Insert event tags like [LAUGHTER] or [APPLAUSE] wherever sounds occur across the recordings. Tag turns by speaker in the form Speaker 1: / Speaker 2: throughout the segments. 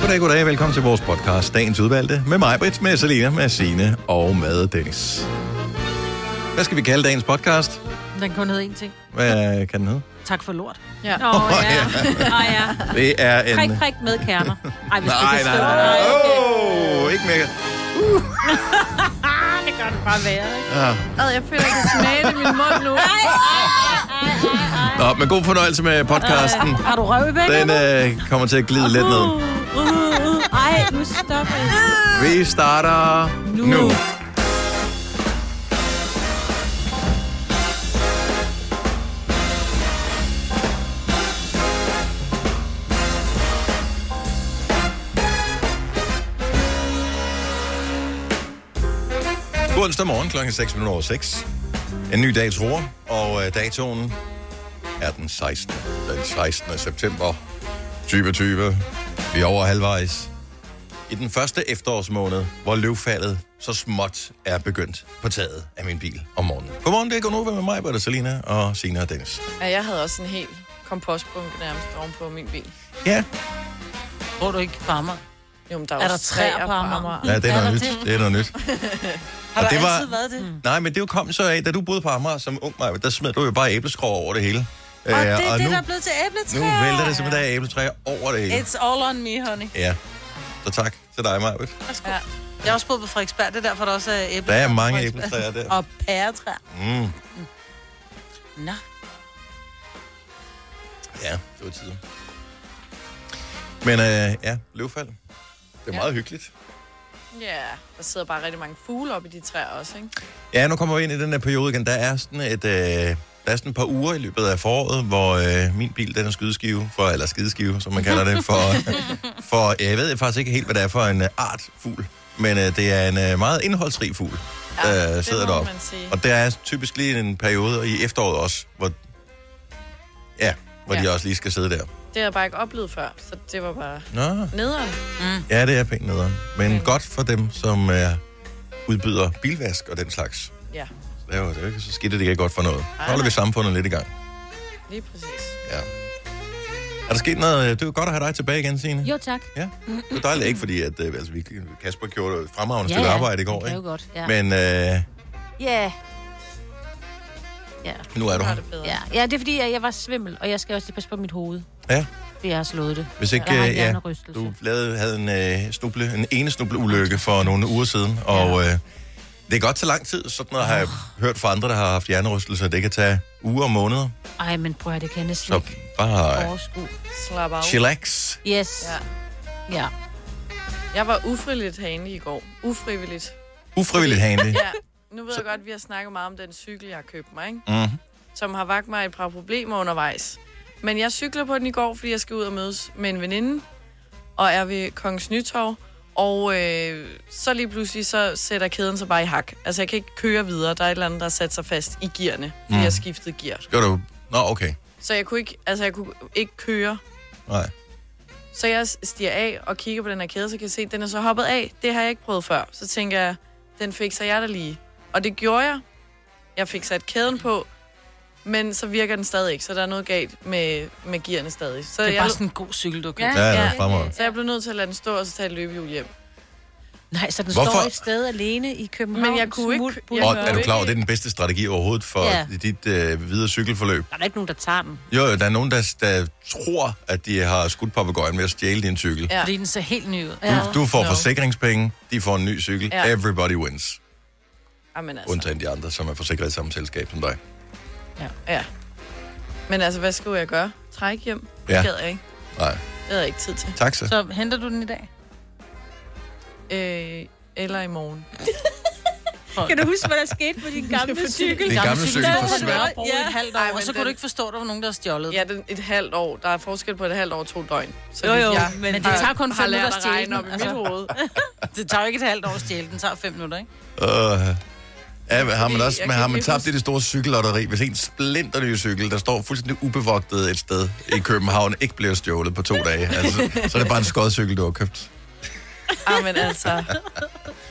Speaker 1: Goddag, goddag. Velkommen til vores podcast, Dagens Udvalgte, med mig, Britt, med Selina, med Signe og med Dennis. Hvad skal vi kalde dagens podcast?
Speaker 2: Den kun hed én ting.
Speaker 1: Hvad kan den hedde?
Speaker 2: Tak for lort.
Speaker 3: Ja.
Speaker 2: Nå, oh, ja. Nå, ja.
Speaker 1: Det er en...
Speaker 2: Prik, prik med kerner. Ej, hvis
Speaker 1: Nej,
Speaker 2: det kan
Speaker 1: nej,
Speaker 2: stå.
Speaker 1: nej.
Speaker 2: okay.
Speaker 1: Åh, ikke mere.
Speaker 2: Ah, det gør det bare værre, ikke?
Speaker 1: Ah.
Speaker 3: Ad, jeg føler, jeg kan smage det i min mund nu.
Speaker 2: Ej, ej, ej, ej, ej.
Speaker 1: Nå, men god fornøjelse med [LAUGHS] podcasten.
Speaker 2: Har du røv i begge?
Speaker 1: Den øh, kommer til at glide lidt ned.
Speaker 2: Uh, uh, uh. Ej, nu stopper jeg.
Speaker 1: Vi starter nu.
Speaker 2: Nu.
Speaker 1: nu. God onsdag morgen klokken er 6 minutter over 6. En ny dag tror, og øh, datoen er den 16. Den 16. september 2020. Vi er over halvvejs i den første efterårsmåned, hvor løvfaldet så småt er begyndt på taget af min bil om morgenen. Godmorgen, det er Gunova med mig, Bette Salina og Sina og Dennis.
Speaker 3: Ja, jeg havde også en hel kompostbunke nærmest ovenpå min bil.
Speaker 1: Ja,
Speaker 2: Tror du ikke på mig?
Speaker 3: Jo, men der
Speaker 2: Er
Speaker 3: var
Speaker 2: der træer på Amager?
Speaker 1: ja det
Speaker 2: Er
Speaker 1: er
Speaker 2: der
Speaker 1: noget nyt.
Speaker 2: det?
Speaker 1: Det er noget nyt.
Speaker 2: [LAUGHS] Har
Speaker 1: Og
Speaker 2: du
Speaker 1: det var-
Speaker 2: altid været det? Mm.
Speaker 1: Nej, men det jo kom så af, da du boede på Amager som ung, Maja, der smed du jo bare æbleskrog over det hele.
Speaker 2: Og
Speaker 1: Øh,
Speaker 2: det er det,
Speaker 1: nu,
Speaker 2: der er blevet til æbletræer.
Speaker 1: nu vælter det simpelthen af æbletræer over det hele.
Speaker 2: It's all on me, honey.
Speaker 1: Ja, så tak til dig, Maja.
Speaker 2: Værsgo. Ja. Jeg har også boet på Frederiksberg, det er derfor, der også er æbletræer.
Speaker 1: Der er
Speaker 2: på
Speaker 1: mange
Speaker 2: Frederiksberg.
Speaker 1: æbletræer der.
Speaker 2: Og pæretræer.
Speaker 1: Mm.
Speaker 2: Nå.
Speaker 1: Ja, det var tiden. Men øh, ja, løvfald. Det er meget hyggeligt.
Speaker 3: Ja, der sidder bare rigtig mange fugle op i de træer også, ikke?
Speaker 1: Ja, nu kommer vi ind i den her periode igen. Der er sådan et, øh, der er sådan et par uger i løbet af foråret, hvor øh, min bil, den er skydeskive, for, eller skideskive, som man kalder
Speaker 3: [LAUGHS]
Speaker 1: det, for, for jeg ved faktisk ikke helt, hvad det er for en øh, art fugl, men øh, det er en øh, meget indholdsrig fugl, der
Speaker 3: det
Speaker 1: sidder
Speaker 3: må
Speaker 1: deroppe.
Speaker 3: man sige.
Speaker 1: Og der er typisk lige en periode i efteråret også, hvor, ja, hvor ja. de
Speaker 3: Ja.
Speaker 1: også lige skal sidde der.
Speaker 3: Det har jeg bare ikke oplevet før, så det var bare
Speaker 1: Nå,
Speaker 3: nederen.
Speaker 1: ja, det er pænt nederen. Men godt for dem, som øh, udbyder bilvask og den slags.
Speaker 3: Ja,
Speaker 1: Det er jo det er jo ikke så skidt, at det ikke er godt for noget. Så holder vi samfundet lidt i gang.
Speaker 3: lige præcis.
Speaker 1: Ja. Er der sket noget? Det er jo godt at have dig tilbage igen, Signe.
Speaker 4: Jo tak.
Speaker 1: Ja, det er dejligt. Ikke fordi, at øh, altså, vi, Kasper gjorde et fremragende
Speaker 4: Ja,
Speaker 1: stykke
Speaker 4: ja.
Speaker 1: arbejde i går,
Speaker 4: Det er jo
Speaker 1: ikke?
Speaker 4: godt. Ja. Men...
Speaker 1: Men øh,
Speaker 4: Ja. Ja.
Speaker 1: nu er du
Speaker 3: Nu har
Speaker 1: her.
Speaker 3: det bedre.
Speaker 4: ja. Ja, det er fordi, at jeg var svimmel, og jeg skal også lige passe på mit hoved,
Speaker 1: Ja,
Speaker 4: fordi jeg har slået det.
Speaker 1: hvis ikke...
Speaker 4: Jeg har en
Speaker 1: øh, ja,
Speaker 4: hjernerystelse.
Speaker 1: du lavede, havde en, øh, snuble, en ene snubleulykke for nogle uger siden, og øh, det er godt så lang tid. Sådan noget har jeg hørt fra andre, der har haft hjernerystelse. Det kan tage uger og måneder.
Speaker 4: Ej, men prøv at høre, det kan jeg næsten
Speaker 1: Så
Speaker 4: ikke
Speaker 1: bare øh,
Speaker 4: overskue.
Speaker 3: Slap af.
Speaker 1: chillax.
Speaker 4: Yes.
Speaker 3: Ja.
Speaker 4: Ja. ja.
Speaker 3: Jeg var ufrivilligt herinde i går. Ufrivilligt.
Speaker 1: Ufrivilligt handy.
Speaker 3: Ja, nu ved jeg godt, at vi har snakket meget om den cykel, jeg har købt mig, ikke?
Speaker 1: Mhm.
Speaker 3: som har vagt mig et par problemer undervejs. Men jeg cykler på den i går, fordi jeg skal ud og mødes med en veninde, og er ved Kongens Nytorv. Og øh, så lige pludselig, så sætter kæden sig bare i hak. Altså, jeg kan ikke køre videre. Der er et eller andet, der har sat sig fast i gearne, fordi mm.
Speaker 1: Mhm.
Speaker 3: jeg skiftede gear.
Speaker 1: Gør du... Nå, okay.
Speaker 3: Så jeg kunne ikke, altså, jeg kunne ikke køre.
Speaker 1: Nej.
Speaker 3: Så jeg stiger af og kigger på den her kæde, så kan jeg se, at den er så hoppet af. Det har jeg ikke prøvet før. Så tænker jeg, den fikser jeg da lige. Og det gjorde jeg. Jeg fik sat kæden på, men så virker den stadig ikke, så der er noget galt med, med gearne stadig. Så,
Speaker 2: Det er
Speaker 3: jeg,
Speaker 2: bare sådan en god cykel, du kan.
Speaker 3: Ja.
Speaker 2: Ja.
Speaker 1: Ja, ja. fremragende.
Speaker 3: så jeg blev nødt til at lade den stå og så tage et løbehjul hjem.
Speaker 4: Nej, så den
Speaker 1: Hvorfor?
Speaker 4: Hvorfor? står et sted alene i København.
Speaker 3: Men jeg kunne ikke-
Speaker 4: smut, bul-
Speaker 3: jeg-
Speaker 1: Og
Speaker 3: Ja.
Speaker 1: er du klar over, at det er den bedste strategi overhovedet for ja.
Speaker 4: Ja.
Speaker 1: dit øh, videre cykelforløb?
Speaker 4: Der er da ikke nogen, der tager dem.
Speaker 1: Jo, jo, der er nogen, der, der tror, at de har skudt papegøjen ved at stjæle din cykel. Ja.
Speaker 3: Ja.
Speaker 2: Fordi den ser helt ny ud.
Speaker 4: Ja.
Speaker 1: Du, du får
Speaker 3: Nå.
Speaker 1: forsikringspenge, de får en ny cykel. Ja.
Speaker 3: Ja.
Speaker 1: Everybody wins.
Speaker 3: Jamen altså,
Speaker 1: Undtagen de andre, som er forsikret i samme selskab som dig.
Speaker 3: ja. Men altså, hvad skulle jeg gøre? Træk hjem?
Speaker 1: Ja.
Speaker 3: Det gad jeg ikke.
Speaker 1: Nej,
Speaker 3: Det havde jeg ikke tid til.
Speaker 1: taxa.
Speaker 2: Så henter du den i dag?
Speaker 3: Øh, eller i
Speaker 2: [LAUGHS]
Speaker 3: morgen.
Speaker 4: Kan du huske, hvad der skete på din gamle cykel?
Speaker 1: Din gamle cykel
Speaker 2: Den
Speaker 1: forsvandt.
Speaker 2: var på
Speaker 3: Ja.
Speaker 2: et halvt år,
Speaker 3: Ej, men
Speaker 2: og så kunne
Speaker 3: den-
Speaker 2: du ikke forstå, at der var nogen, der har stjålet. den.
Speaker 3: Ja, den, et halvt år. Der er forskel på et halvt år og to døgn. Så
Speaker 2: Jo,
Speaker 3: vidt
Speaker 2: jo,
Speaker 3: jeg
Speaker 2: men det
Speaker 3: har-
Speaker 2: tager kun
Speaker 3: har
Speaker 2: fem
Speaker 3: lært
Speaker 2: minutter at
Speaker 3: at
Speaker 2: stjæle
Speaker 3: regne
Speaker 2: den,
Speaker 3: op i mit
Speaker 2: altså.
Speaker 3: hoved.
Speaker 2: [LAUGHS] Det tager jo ikke et halvt år at stjæle, den tager fem minutter, ikke?
Speaker 1: Uh, ja, men har man,
Speaker 3: Fordi
Speaker 1: også,
Speaker 3: jeg
Speaker 1: men
Speaker 3: kan
Speaker 1: har
Speaker 3: ikke
Speaker 1: man
Speaker 3: lige
Speaker 1: tabt
Speaker 3: huske-
Speaker 1: i det store cykellotteri, hvis en splinterny cykel, der står fuldstændig ubevogtet et sted i København, ikke bliver stjålet på to dage? Altså, så er det bare en skodcykel, du har købt.
Speaker 3: Ah, men
Speaker 2: [LAUGHS]
Speaker 3: altså,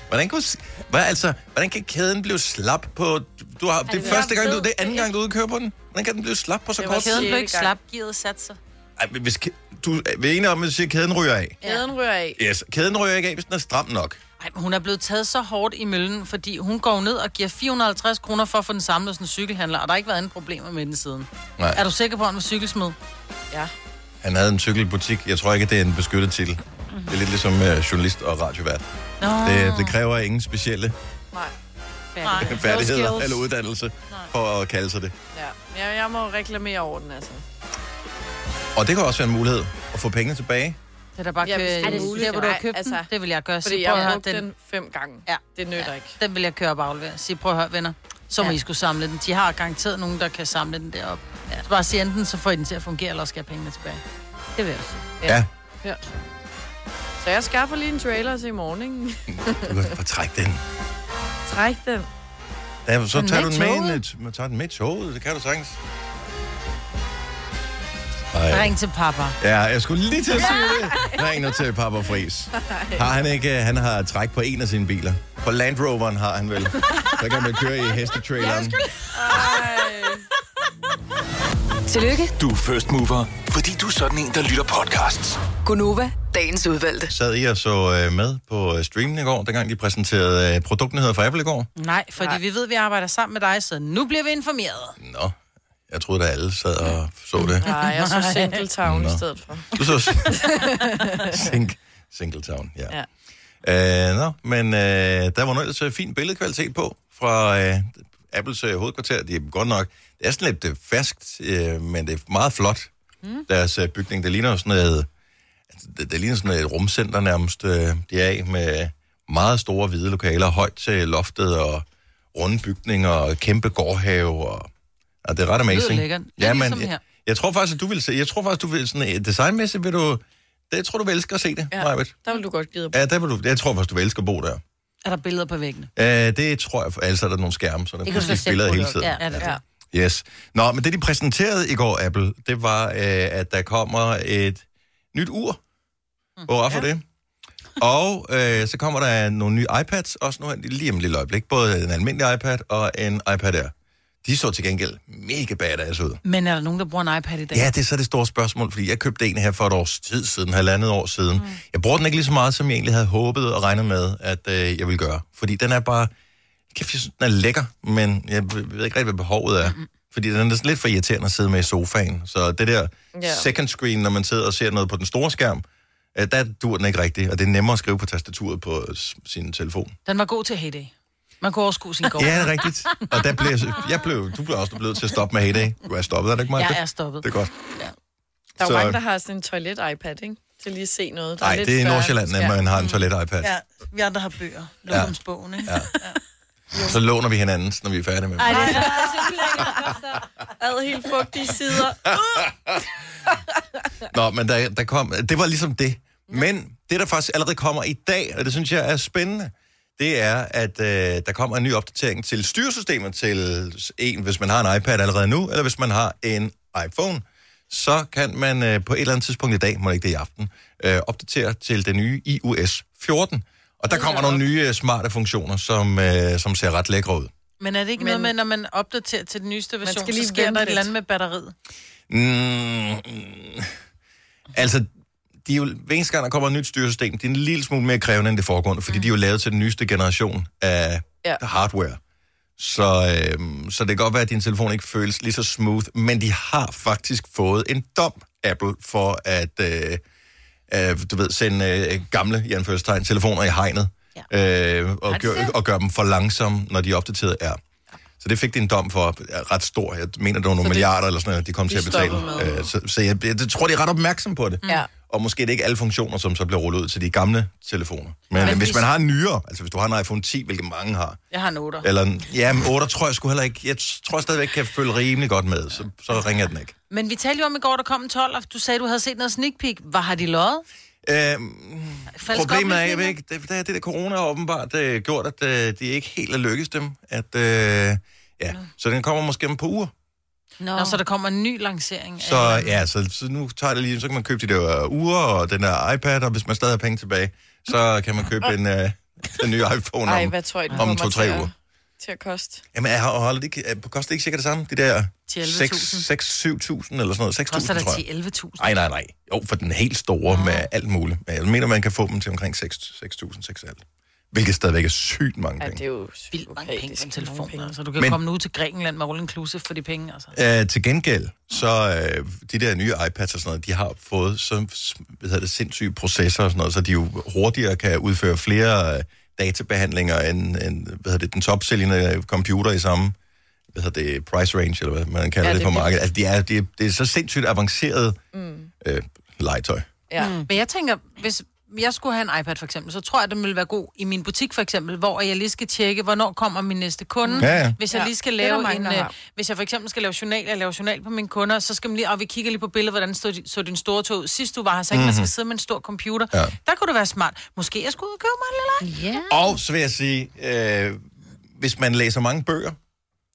Speaker 1: Hvordan, kunne, hvad, altså, hvordan kan kæden blive slap på... Du har,
Speaker 3: Altså,
Speaker 1: det er
Speaker 4: det
Speaker 1: første gang, du,
Speaker 4: ved-
Speaker 1: det er anden gang, du udkøber den. Hvordan kan den blive slap på så
Speaker 3: Det
Speaker 1: kort
Speaker 3: var
Speaker 1: tid?
Speaker 3: kæden.
Speaker 2: Kæden blev ikke
Speaker 3: gang.
Speaker 2: slap, gearet satte sig.
Speaker 1: Ej, men hvis, kæ- du er vi er enige om, at du siger, at kæden ryger af.
Speaker 3: Kæden ryger af.
Speaker 1: Yes, kæden ryger ikke af, hvis den er stram nok.
Speaker 2: Ej, men hun er blevet taget så hårdt i møllen, fordi hun går ned og giver 450 kroner for at få den samlet hos en cykelhandler, og der har ikke været andre problemer med den siden.
Speaker 1: Nej.
Speaker 2: Er du sikker på, at han var cykelsmed?
Speaker 3: Ja.
Speaker 1: Han havde en cykelbutik. Jeg tror ikke, det er en beskyttet titel. Det er lidt ligesom øh, journalist og radiovært.
Speaker 2: Nå,
Speaker 1: Det, det kræver ingen specielle
Speaker 3: Nej.
Speaker 2: nej.
Speaker 4: Færdig.
Speaker 1: færdigheder
Speaker 4: skills.
Speaker 1: eller uddannelse for at kalde sig det.
Speaker 3: Ja. Jeg, jeg må reklamere over den, altså.
Speaker 1: Og det kan også være en mulighed at få penge tilbage.
Speaker 2: øh, Det er da bare
Speaker 3: Ja, hvis det er
Speaker 2: kø-
Speaker 3: muligt.
Speaker 2: der, hvor du har
Speaker 3: Nej,
Speaker 2: købt den.
Speaker 3: altså,
Speaker 2: Det vil jeg gøre.
Speaker 3: Fordi
Speaker 2: Sige, prøv
Speaker 3: jeg
Speaker 2: at
Speaker 3: har
Speaker 2: høre,
Speaker 3: brugt den.
Speaker 2: den,
Speaker 3: den fem gange.
Speaker 2: Ja.
Speaker 3: Det nytter ikke.
Speaker 2: den vil jeg køre og baglevere. Sige, prøv at høre, venner. Så må
Speaker 4: Ja.
Speaker 2: I skulle samle den. De har garanteret nogen, der kan samle den derop. Ja. Så bare sige, enten så får I den til at fungere, eller også skal jeg have pengene tilbage.
Speaker 4: Det vil jeg også.
Speaker 1: Ja. ja.
Speaker 3: Ja. Så jeg skaffer lige en trailer til i morgen,
Speaker 2: [LAUGHS]
Speaker 3: ikke?
Speaker 1: Du kan bare trække den.
Speaker 3: Træk den.
Speaker 1: Ja, så
Speaker 2: Men
Speaker 1: tager du
Speaker 2: med
Speaker 1: den med,
Speaker 2: toget?
Speaker 1: ind, øh, tager den med i toget. Det kan du sagtens. Ej.
Speaker 2: Ring til papa.
Speaker 3: [LAUGHS]
Speaker 1: Ja, jeg skulle lige til at sige det. Ring nu til Papa Fris. Har han ikke, øh, han har træk på en af sine biler. På Land Roveren har han vel. Så kan man køre i hestetraileren.
Speaker 3: Ej.
Speaker 5: Tillykke,
Speaker 6: Du er first mover, fordi du er sådan en, der lytter podcasts.
Speaker 5: Gunova, dagens udvalgte.
Speaker 1: Sad I og så øh, med på øh, streamen i går, dengang de præsenterede øh, produktnyheder fra Apple i går?
Speaker 2: Nej, fordi Nej. vi ved, at vi arbejder sammen med dig, så nu bliver vi informeret.
Speaker 1: Nå, jeg troede da alle sad og så det.
Speaker 3: Nej, jeg så Single Town i
Speaker 1: Nå.
Speaker 3: stedet for.
Speaker 1: Du
Speaker 3: [LAUGHS]
Speaker 1: så Sink, Singletown, ja.
Speaker 3: Ja.
Speaker 1: Øh, nå, men øh, der var noget ellers øh, fin billedkvalitet på fra øh, Apples øh, hovedkvarter. Det er godt nok, det er sådan lidt øh, ferskt, øh, men det er meget flot. Mm. Deres øh, bygning, det ligner jo sådan noget, altså, det, det ligner sådan et rumcenter nærmest, øh, de er af med meget store hvide lokaler, højt til loftet og runde bygninger og kæmpe gårdhave og, og det er ret amazing.
Speaker 2: lækkert. Lidt
Speaker 1: Ja, men
Speaker 2: ligesom her.
Speaker 1: jeg, jeg, tror faktisk, at du vil se, jeg tror faktisk, du vil sådan, øh, designmæssigt vil du, det jeg tror du vil elske at se det,
Speaker 3: Ja.
Speaker 1: Majbet.
Speaker 3: [LAUGHS] Der vil du godt gide at
Speaker 1: Ja, der vil du, jeg tror faktisk, du vil elske at bo der.
Speaker 2: Er der billeder på væggene?
Speaker 1: Uh, det tror jeg, for altså er der nogle skærme, så der kan skifte billeder hele tiden.
Speaker 2: Ja, det er det.
Speaker 1: Yes. Nå, men det de præsenterede i går, Apple, det var, øh, at der kommer et nyt ur. Hvor for det? Og øh, så kommer der nogle nye iPads, også nu her, lige om et lille øjeblik. Både en almindelig iPad og en iPad Air. De så til gengæld mega badass ud.
Speaker 2: Men er der nogen, der bruger en iPad i dag?
Speaker 1: Ja, det er så det store spørgsmål, fordi jeg købte en her for et års tid siden, halvandet år siden. Mm. Jeg bruger den ikke lige så meget, som jeg egentlig havde håbet og regnet med, at øh, jeg ville gøre. Fordi den er bare... Kæft, jeg synes, den er lækker, men jeg ved ikke rigtig, hvad behovet er. Mm. Fordi den er sådan lidt for irriterende at sidde med i sofaen. Så det der
Speaker 3: Ja.
Speaker 1: yeah. second screen, når man sidder og ser noget på den store skærm, øh, der dur den ikke rigtigt, og det er nemmere at skrive på tastaturet på øh, s- sin telefon.
Speaker 2: Den var god til Heyday. Man kunne overskue
Speaker 1: [LAUGHS]
Speaker 2: sin gård.
Speaker 1: Ja, det er rigtigt. Og der blev, jeg blev, du blev også blevet til at stoppe med Heyday. Du er stoppet, er det ikke mig?
Speaker 2: Jeg er stoppet.
Speaker 1: Det er godt.
Speaker 3: Der er
Speaker 1: Så-
Speaker 3: jo mange, der har sådan en toilet-iPad, ikke? Til lige at se noget. Der
Speaker 1: Nej,
Speaker 3: lidt Mm.
Speaker 1: det er i
Speaker 3: større
Speaker 1: Nordsjælland, at
Speaker 3: skærm.
Speaker 1: man har en toilet-iPad.
Speaker 2: Ja, vi andre har bøger. Lukkomsbogen, ikke? Ja.
Speaker 1: Så låner vi hinandens, når vi er færdige med dem.
Speaker 4: Ej, det er så ulækkert.
Speaker 3: Ad helt fugtige sider.
Speaker 1: Nå, men der, der kom, det var ligesom det. Men det, der faktisk allerede kommer i dag, og det synes jeg er spændende, det er, at øh, der kommer en ny opdatering til styresystemet til en, hvis man har en iPad allerede nu, eller hvis man har en iPhone, så kan man øh, på et eller andet tidspunkt i dag, må det ikke det i aften, øh, opdatere til det nye iOS 14. Og der kommer nogle nye øh, smarte funktioner, som, øh, som ser ret lækre ud.
Speaker 2: [LAUGHS] Men er det ikke
Speaker 3: Men-
Speaker 2: noget med, når man opdaterer til den nyeste version,
Speaker 3: skal
Speaker 2: lige
Speaker 3: lige
Speaker 2: så sker
Speaker 3: vente
Speaker 2: der
Speaker 3: lidt.
Speaker 2: et eller andet med batteriet?
Speaker 1: Mm, altså, de er jo, hver eneste gang, der kommer et nyt styresystem, det er en lille smule mere krævende end det foregående, fordi mm. de er jo lavet til den nyeste generation af ja.
Speaker 3: Ja.
Speaker 1: hardware. Så, øhm, så det kan godt være, at din telefon ikke føles lige så smooth, men de har faktisk fået en dom, Apple, for at øh, øh, du ved, sende øh, gamle i anførselstegn, telefoner i hegnet, ja. øh, og, gør, og gøre dem for langsomme, når de opdateret er. Så det fik de en dom for er ret stor. Jeg mener, det var nogle
Speaker 3: det-
Speaker 1: milliarder eller sådan noget, de kom til at betale.
Speaker 3: stopper med.
Speaker 1: Øh, så så jeg, jeg tror, de er ret opmærksom på det.
Speaker 3: Ja.
Speaker 1: Og måske er det ikke alle funktioner, som så bliver rullet ud til de gamle telefoner. Men, Men
Speaker 2: Men
Speaker 1: hvis
Speaker 2: hvis-
Speaker 1: man har en nyere, altså hvis du har en iPhone 10, hvilket mange har,
Speaker 2: Jeg har en 8. Ja.
Speaker 1: eller en, ja, men 8 tror jeg sgu heller ikke, jeg tror jeg stadigvæk kan følge rimelig godt med, så, så ringer jeg den ikke.
Speaker 2: Men vi talte jo om i går, der kom en 12, og du sagde, du havde set noget sneak peek. Hvad har de løjet?
Speaker 1: Øhm,
Speaker 2: Falsk
Speaker 1: Problemet er, jeg ved
Speaker 2: oplysninger?
Speaker 1: ikke, det, det, er det der corona har åbenbart øh, gjort, at øh, det ikke helt er lykkes dem. At, øh, ja. Så den kommer måske om et par uger.
Speaker 4: Nå,
Speaker 2: Nå, så der kommer en ny lancering. af-
Speaker 1: Så ja, så, så nu tager det lige, så kan man købe de der øh, uger og den der iPad, og hvis man stadig har
Speaker 3: [LAUGHS]
Speaker 1: penge tilbage, så kan man købe en, øh, den nye iPhone
Speaker 3: Ej,
Speaker 1: om,
Speaker 3: hvad tror I, den
Speaker 1: om
Speaker 3: kommer til
Speaker 1: to-tre
Speaker 3: at-
Speaker 1: uger.
Speaker 3: til at koste.
Speaker 1: Jamen, jeg har holdt ikke, er- koster det ikke cirka det samme? De der
Speaker 2: 11.000.
Speaker 1: 6-7.000 eller sådan noget. 6.000,
Speaker 2: Koster der
Speaker 1: tror jeg.
Speaker 2: 10-11.000?
Speaker 1: Nej, nej, nej. Jo, for den helt store oh. med alt muligt. Men jeg mener, man kan få dem til omkring 6.000, 6.500. Hvilket stadigvæk er sygt mange
Speaker 3: Ja,
Speaker 1: penge.
Speaker 3: det er jo
Speaker 2: vildt mange penge på en
Speaker 3: psykopatisk
Speaker 2: telefon.
Speaker 3: mange penge.
Speaker 2: Altså, du kan
Speaker 1: Men-
Speaker 2: Men... komme nu til Grækenland med all inclusive for de penge. Altså.
Speaker 1: Øh, til gengæld, så øh, de der nye iPads og sådan noget, de har fået så hvad hedder det, sindssyge processorer og sådan noget, så de jo hurtigere kan udføre flere øh, databehandlinger end, end hvad hedder det, den topsælgende øh, computer i samme hvad hedder det, price range, eller hvad man kalder ja,
Speaker 3: Ja, det
Speaker 1: det, på
Speaker 3: er
Speaker 1: markedet. Altså, det er, det, er, det er så sindssygt avanceret mm. øh, legetøj.
Speaker 3: Ja. Mm.
Speaker 2: Men jeg tænker, hvis jeg skulle have en iPad for eksempel, så tror jeg, at den ville være god i min butik for eksempel, hvor jeg lige skal tjekke, hvornår kommer min næste kunde.
Speaker 1: Ja, ja.
Speaker 2: Hvis jeg
Speaker 3: Ja,
Speaker 2: lige skal
Speaker 3: det er der
Speaker 2: lave
Speaker 3: mange,
Speaker 2: en,
Speaker 3: der
Speaker 2: øh,
Speaker 3: har.
Speaker 2: hvis jeg for eksempel skal lave journal, jeg laver journal på mine kunder, så skal man lige, og vi kigger lige på billedet, hvordan stod, så din store tog ud. Sidst du var her, så ikke mm-hmm. man skal sidde med en stor computer.
Speaker 1: Mhm. Ja.
Speaker 2: Ja. Der kunne det være smart. Måske jeg skulle ud og købe mig en lille iPad.
Speaker 4: Ja.
Speaker 1: Og så vil jeg sige, øh, hvis man læser mange bøger,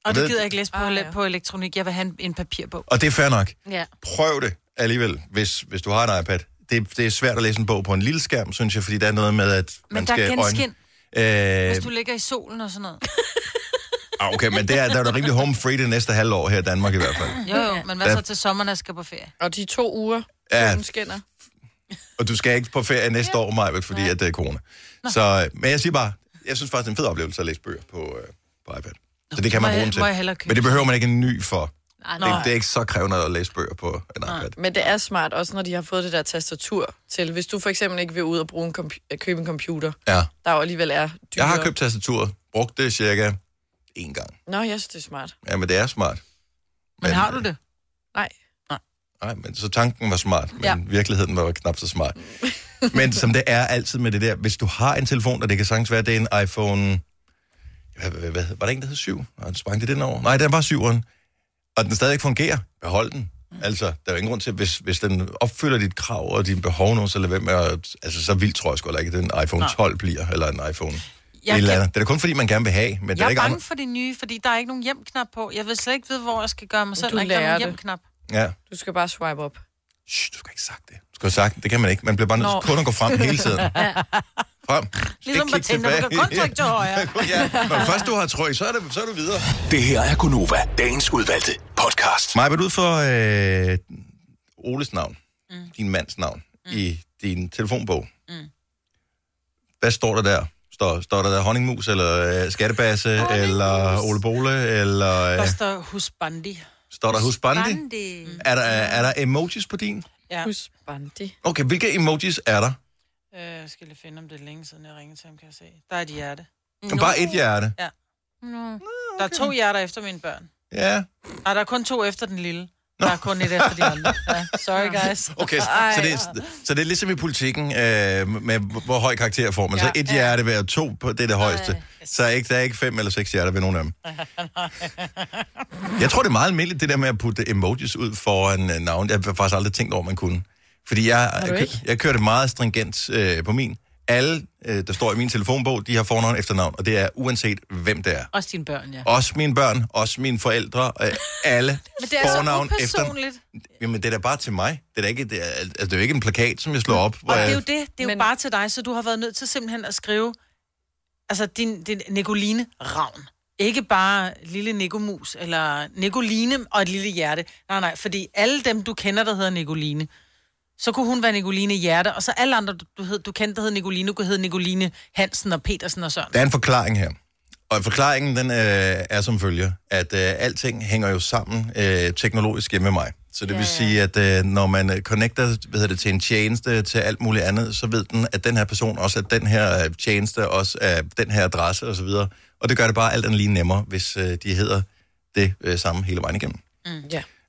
Speaker 2: Og
Speaker 1: Ved-
Speaker 2: det gider jeg ikke læse på,
Speaker 3: Ah,
Speaker 2: ah,
Speaker 3: ja.
Speaker 2: på elektronik. Jeg vil have en, en papirbog.
Speaker 1: og det er fair nok,
Speaker 2: Ja.
Speaker 1: prøv det alligevel, hvis, hvis du har en iPad. Det, det er svært at læse en bog på en lille skærm, synes jeg, fordi der er noget med, at
Speaker 2: Men
Speaker 1: man
Speaker 2: der er
Speaker 1: skal
Speaker 2: genskin,
Speaker 1: Øh,
Speaker 2: hvis du ligger i solen og sådan noget.
Speaker 1: ah, okay, men det er, der er da rimelig home free det næste halvår her i Danmark i hvert fald.
Speaker 2: Jo, jo, men hvad
Speaker 1: Ja.
Speaker 2: så til sommeren, når jeg skal på ferie?
Speaker 3: Og de to uger,
Speaker 1: Ja.
Speaker 3: ja. hun skinner.
Speaker 1: Og du skal ikke på ferie næste år, Maja, fordi at det er corona. Så, øh, men jeg siger bare, jeg synes faktisk, det er en fed oplevelse at læse bøger på, øh, på iPad. Så det kan
Speaker 2: Må
Speaker 1: man bruge
Speaker 2: jeg-
Speaker 1: den til.
Speaker 2: må jeg hellere købe
Speaker 1: Men det
Speaker 2: den?
Speaker 1: behøver man ikke en ny for.
Speaker 4: Nej,
Speaker 1: Det, det er ikke så krævende at læse bøger på en iPad.
Speaker 3: Men det er smart, også når de har fået det der tastatur til. Hvis du for eksempel ikke vil ud og bruge en compu- øh, købe en computer,
Speaker 1: Ja.
Speaker 3: der jo alligevel er dyre.
Speaker 1: Jeg har købt tastaturet, brugt det cirka én gang.
Speaker 3: Nå, jeg synes, det er smart.
Speaker 1: Ja, men det er smart.
Speaker 2: Men har du det?
Speaker 3: Nej.
Speaker 1: Nej, men så tanken var smart, men ja. virkeligheden var jo knap så smart. men som det er altid med det der, hvis du har en telefon, og det kan sagtens være, det er en iPhone... Hvad, hvad, hvad, var der en, der hed 7? Nej, sprang det den over? Nej, den var 7'eren. Og den stadig fungerer. Behold den. Altså, der er jo ingen grund til, hvis, hvis den opfylder dit krav og dine behov nu, så lad være med at, Altså, så vildt tror jeg sgu heller ikke, at den iPhone 12 bliver, eller en iPhone...
Speaker 2: Jeg,
Speaker 1: et eller
Speaker 2: kan,
Speaker 1: andet. Det er da kun fordi, man gerne vil have, men det
Speaker 2: jeg
Speaker 1: er
Speaker 2: er
Speaker 1: ikke
Speaker 2: bange for det nye, fordi der er ikke nogen hjemknap på. Jeg vil slet ikke vide, hvor jeg skal gøre mig selv,
Speaker 3: Du
Speaker 2: når ikke der er
Speaker 3: lærer
Speaker 2: nogen
Speaker 3: det.
Speaker 2: hjemknap.
Speaker 1: Ja.
Speaker 3: Du skal bare swipe op.
Speaker 1: Shh, du skal ikke have sagt det. Du skal have sagt, det kan man ikke. Man bliver bare nødt
Speaker 3: Nå.
Speaker 1: til kun at gå frem hele [LAUGHS] tiden.
Speaker 7: [LAUGHS]
Speaker 1: Frem. Du skal
Speaker 2: Ligesom
Speaker 1: ikke
Speaker 2: på
Speaker 1: kigge
Speaker 2: Tinder, du kan
Speaker 1: tilbage.
Speaker 2: kun trykke til højre.
Speaker 1: [LAUGHS] ja, når først du har trøj, så er, det, så er du videre.
Speaker 6: Det her er Gunova, dagens udvalgte podcast.
Speaker 1: Maja, vil du ud for øh, Oles navn, mm. din mands navn, mm. i din telefonbog? Mm. Hvad står der der? Står, står der der honningmus, eller øh, skattebasse, eller Ole Bole, eller øh,
Speaker 2: Der står husbandi.
Speaker 1: står der husbandi?
Speaker 4: Bandi. Mm.
Speaker 1: Er der, er der emojis på din?
Speaker 2: Ja.
Speaker 3: Husk Bandi.
Speaker 1: Okay, hvilke emojis er der?
Speaker 2: Øh, jeg skal lige finde, om det er længe siden, jeg ringede til ham, kan jeg se. Der er et hjerte.
Speaker 1: No. Bare et hjerte.
Speaker 2: Der er to hjerter efter mine børn.
Speaker 1: Ja.
Speaker 2: Nej, der er kun to efter den lille. Der er kun et efter de andre. Ja,
Speaker 1: [LAUGHS]
Speaker 2: sorry, guys.
Speaker 1: Okay, så det, er, så det er ligesom i politikken, øh, med hvor- hvor høj karakter får man. Ja. Så et hjerte hver, to på det er det højeste. Så er ikke, der er ikke fem eller seks hjerter ved nogen af dem. Jeg tror, det er meget almindeligt, det der med at putte emojis ud foran øh, navn. Jeg har faktisk aldrig tænkt over, man kunne. Fordi jeg,
Speaker 3: du
Speaker 1: jeg,
Speaker 3: ikke?
Speaker 1: kø- jeg kørte meget stringent øh, på min. Alle, øh, der står i min telefonbog, de har fornavn og efternavn, og det er uanset, hvem det er.
Speaker 2: Også dine børn, ja.
Speaker 1: Også mine børn, også mine forældre, øh, alle
Speaker 2: [LAUGHS] Men det er så
Speaker 1: fornavn, efternavn.
Speaker 2: upersonligt.
Speaker 1: Jamen, det er da bare til mig. Det er da ikke, det er, altså, det er jo ikke en plakat, som jeg slår op. Hvor
Speaker 2: Og det er
Speaker 1: jeg,
Speaker 2: jo det. Det er jo
Speaker 3: Men-
Speaker 2: bare til dig, så du har været nødt til simpelthen at skrive, altså din, din Nicoline Ravn. Ikke bare lille Nicomus, eller Nicoline og et lille hjerte. Nej, nej, fordi alle dem, du kender, der hedder Nicoline, så kunne hun være Nicoline Hjerte, og så alle andre, du, du, hed, du kendte, der hed Nicoline, kunne hedde Nicoline Hansen og Petersen og Søren.
Speaker 1: Der er en forklaring her. Og forklaringen, den øh, er som følger, at øh, alting hænger jo sammen øh, teknologisk hjemme med mig. Så det vil sige, at øh, når man øh, connecter hvad hedder det, til en tjeneste, til alt muligt andet, så ved den, at den her person også er den her øh, tjeneste, også er den her adresse osv. Og, og det gør det bare alt andet lige nemmere, hvis øh, de hedder det øh, samme hele vejen igennem.
Speaker 3: Mm.